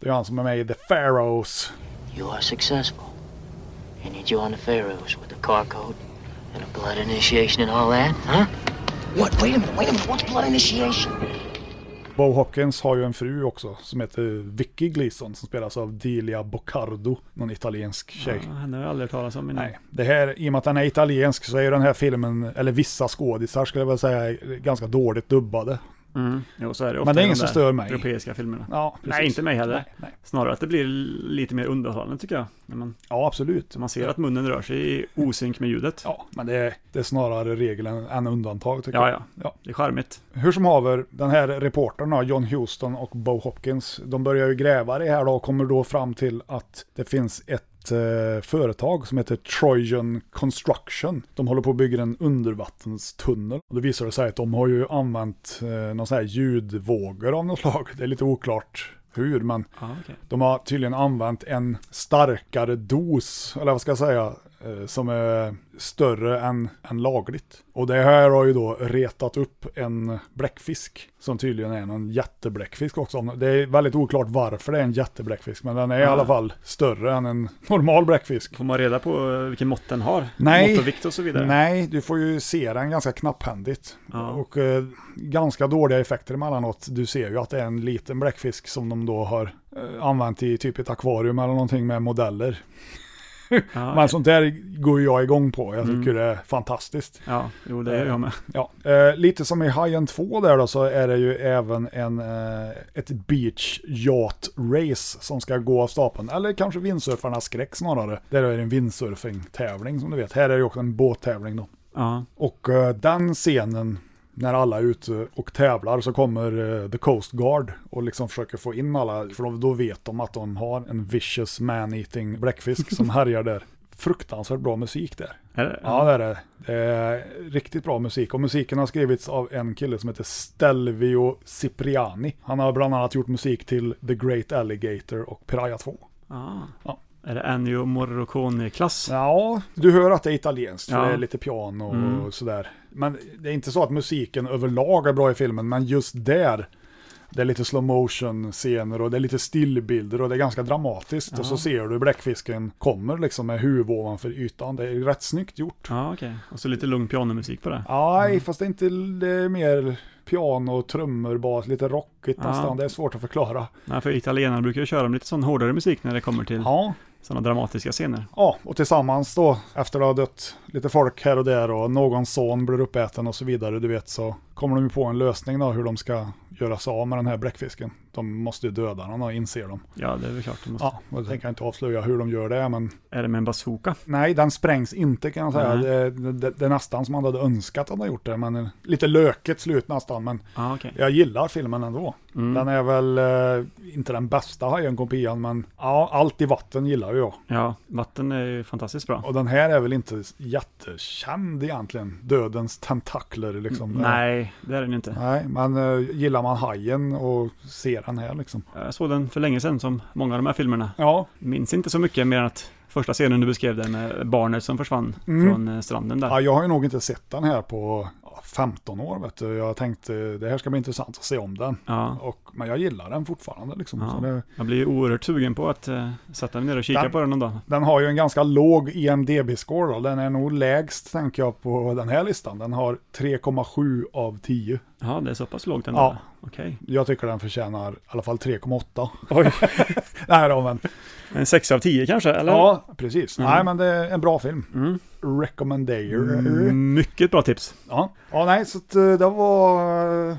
Det är han som är med i The Pharaohs.
You are successful. I need you on the Pharaohs with a car code and a blood initiation and all that, huh? What? Wait a minute, wait a minute. What's blood initiation?
Bo Hopkins har ju en fru också som heter Vicky Gleason som spelas av Delia Boccardo, någon italiensk tjej.
Ja, henne har jag aldrig hört talas om innan. Nej.
Det här, i och med att den är italiensk så är ju den här filmen, eller vissa skådisar skulle jag väl säga, är ganska dåligt dubbade.
Mm. Jo, så är det ofta
Men det är
i
ingen
de
som
där
stör mig.
Europeiska filmerna.
Ja, precis.
Nej, inte mig heller.
Nej, nej.
Snarare att det blir lite mer underhållande tycker jag. När man,
ja, absolut.
Man ser att munnen rör sig i osynk med ljudet.
Ja, men det är, det är snarare regel än, än undantag tycker
Ja,
jag.
ja. Det är charmigt.
Hur som haver, den här reportern då, John Houston och Bo Hopkins, de börjar ju gräva det här då och kommer då fram till att det finns ett eh, företag som heter Trojan Construction. De håller på och bygger en undervattenstunnel. Och då visar det sig att de har ju använt eh, någon sån här ljudvågor av något slag. Det är lite oklart hur, men
Ja, okej.
de har tydligen använt en starkare dos, eller vad ska jag säga, eh, som är större än, än lagligt. Och det här har ju då retat upp en bläckfisk som tydligen är någon jättebläckfisk också. Det är väldigt oklart varför det är en jättebläckfisk, men den är i alla fall större än en normal bläckfisk.
Får man reda på eh, vilken mått den har?
Nej.
Mått och vikt och så vidare?
Nej, du får ju se den ganska knapphändigt. Och eh, ganska dåliga effekter emellanåt. Du ser ju att det är en liten bläckfisk som de då har eh, använt i typ ett akvarium eller någonting med modeller. Men sånt där går ju jag igång på. Jag tycker det är fantastiskt.
Mm. Ja, jo det är jag med.
Ja. Eh, lite som i Hajen 2 där då så är det ju även en, eh, ett beach yacht race som ska gå av stapeln. Eller kanske vindsurfarnas skräck snarare. Där är det en vindsurfing-tävling som du vet. Här är det också en båttävling då.
Ja.
Och eh, den scenen när alla är ute och tävlar så kommer eh, The Coast Guard och liksom försöker få in alla. För då- då vet de att de har en vicious man-eating bläckfisk som härjar där. Fruktansvärt bra musik där.
Är det?
Ja, det är det. Det är riktigt bra musik. Och musiken har skrivits av en kille som heter Stelvio Cipriani. Han har bland annat gjort musik till The Great Alligator och Piraya 2.
Ah.
Ja.
Är det Ennio Morricone-klass?
Ja, du hör att det är italienskt, för
Ja.
det är lite piano och
Mm.
sådär. Men det är inte så att musiken överlag är bra i filmen, men just där, det är lite slow motion scener och det är lite stillbilder och det är ganska dramatiskt. Och så
Ja.
ser du bläckfisken kommer liksom med huvudet ovanför ytan. Det är rätt snyggt gjort.
Ja, okej. Och så lite lugn pianomusik på det.
Nej, fast det är inte det är mer piano, trummor, bas, lite rockigt
Ja.
nästan. Det är svårt att förklara.
Nej, för italienarna brukar ju köra med lite sån hårdare musik när det kommer till
ja.
sådana dramatiska scener.
Ja, och tillsammans då, efter det har dött lite folk här och där och någon son blir uppäten och så vidare, du vet, så kommer de ju på en lösning då hur de ska göra sig av med den här bläckfisken. De måste ju döda den och inser de.
Ja, det är väl klart. det Måste...
Ja, och jag tänker inte avslöja hur de gör det, men...
Är det med en bazooka?
Nej, den sprängs inte kan jag säga.
Nej.
Det, det, det är nästan som man hade önskat att han hade gjort det, men eh, lite löket slut nästan, men
Ja, okej.
jag gillar filmen ändå.
Mm.
Den är väl eh, inte den bästa Hajen-kopian, men ja, allt i vatten gillar ju jag.
Ja, vatten är ju fantastiskt bra.
Och den här är väl inte jättekänd egentligen, Dödens tentakler liksom.
Mm, Nej, det är den ju inte.
Nej, men eh, gillar man Hajen och ser den här liksom.
Jag såg den för länge sedan som många av de här filmerna.
Ja.
Minns inte så mycket mer än att första scenen du beskrev där med barnet som försvann
Mm.
från eh, stranden där.
Ja, jag har ju nog inte sett den här på ja, 15 år vet du. Jag tänkte det här ska bli intressant att se om den.
Ja.
Och, men jag gillar den fortfarande liksom.
Ja.
Så det,
Jag blir ju oerhört sugen på att eh, sätta mig ner och kika
Den-
på den någon dag.
den har ju en ganska låg E IMDB-score då. Den är nog lägst tänker jag på den här listan. Den har 3,7 av 10.
Ja, det är så pass lågt ändå.
Ja.
Okej.
Jag tycker den förtjänar i alla fall 3,8. Oj. Nej då, men
En 6 av 10 kanske, eller?
Ja, precis.
Mm.
Nej, men det är en bra film. Recommendator.
Mm, Mycket bra tips.
Ja. ja, nej, så att, eh, det var eh,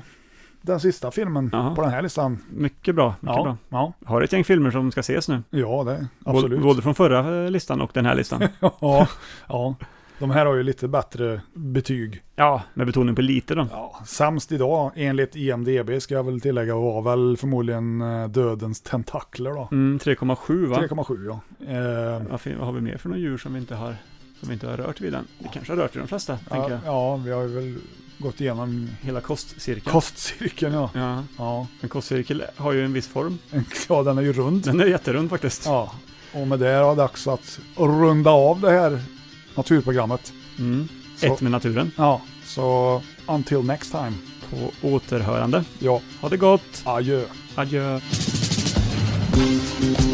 den sista filmen på den här listan.
Mycket bra. Mycket
Ja,
bra.
ja.
Har ett gäng filmer som ska ses nu.
Ja, det
Både-
absolut.
Både från förra eh, listan och den här listan.
ja, ja, de här har ju lite bättre betyg.
ja, med betoning på lite då.
Ja. Sämst idag, enligt E IMDB, ska jag väl tillägga, var väl förmodligen eh, Dödens tentakler då.
Mm, 3,7 va?
3,7 ja. Eh,
Vad, fin- vad har vi mer för några djur som vi inte har, som vi inte har rört vid än? Vi kanske har rört vid de flesta, tänker
ja,
jag.
ja, vi har ju väl gått igenom
Hela kostcirkeln.
kostcirkeln ja.
ja.
ja.
En kostcirkel har ju en viss form.
Ja, den är ju rund.
Den är jätterund faktiskt.
Ja, och med det är det dags att runda av det här naturprogrammet.
Mm.
Så-
Ett med naturen.
Ja, så until next time.
På återhörande.
Ja.
Ha det gott!
Adjö.
Adjö!
Thank you.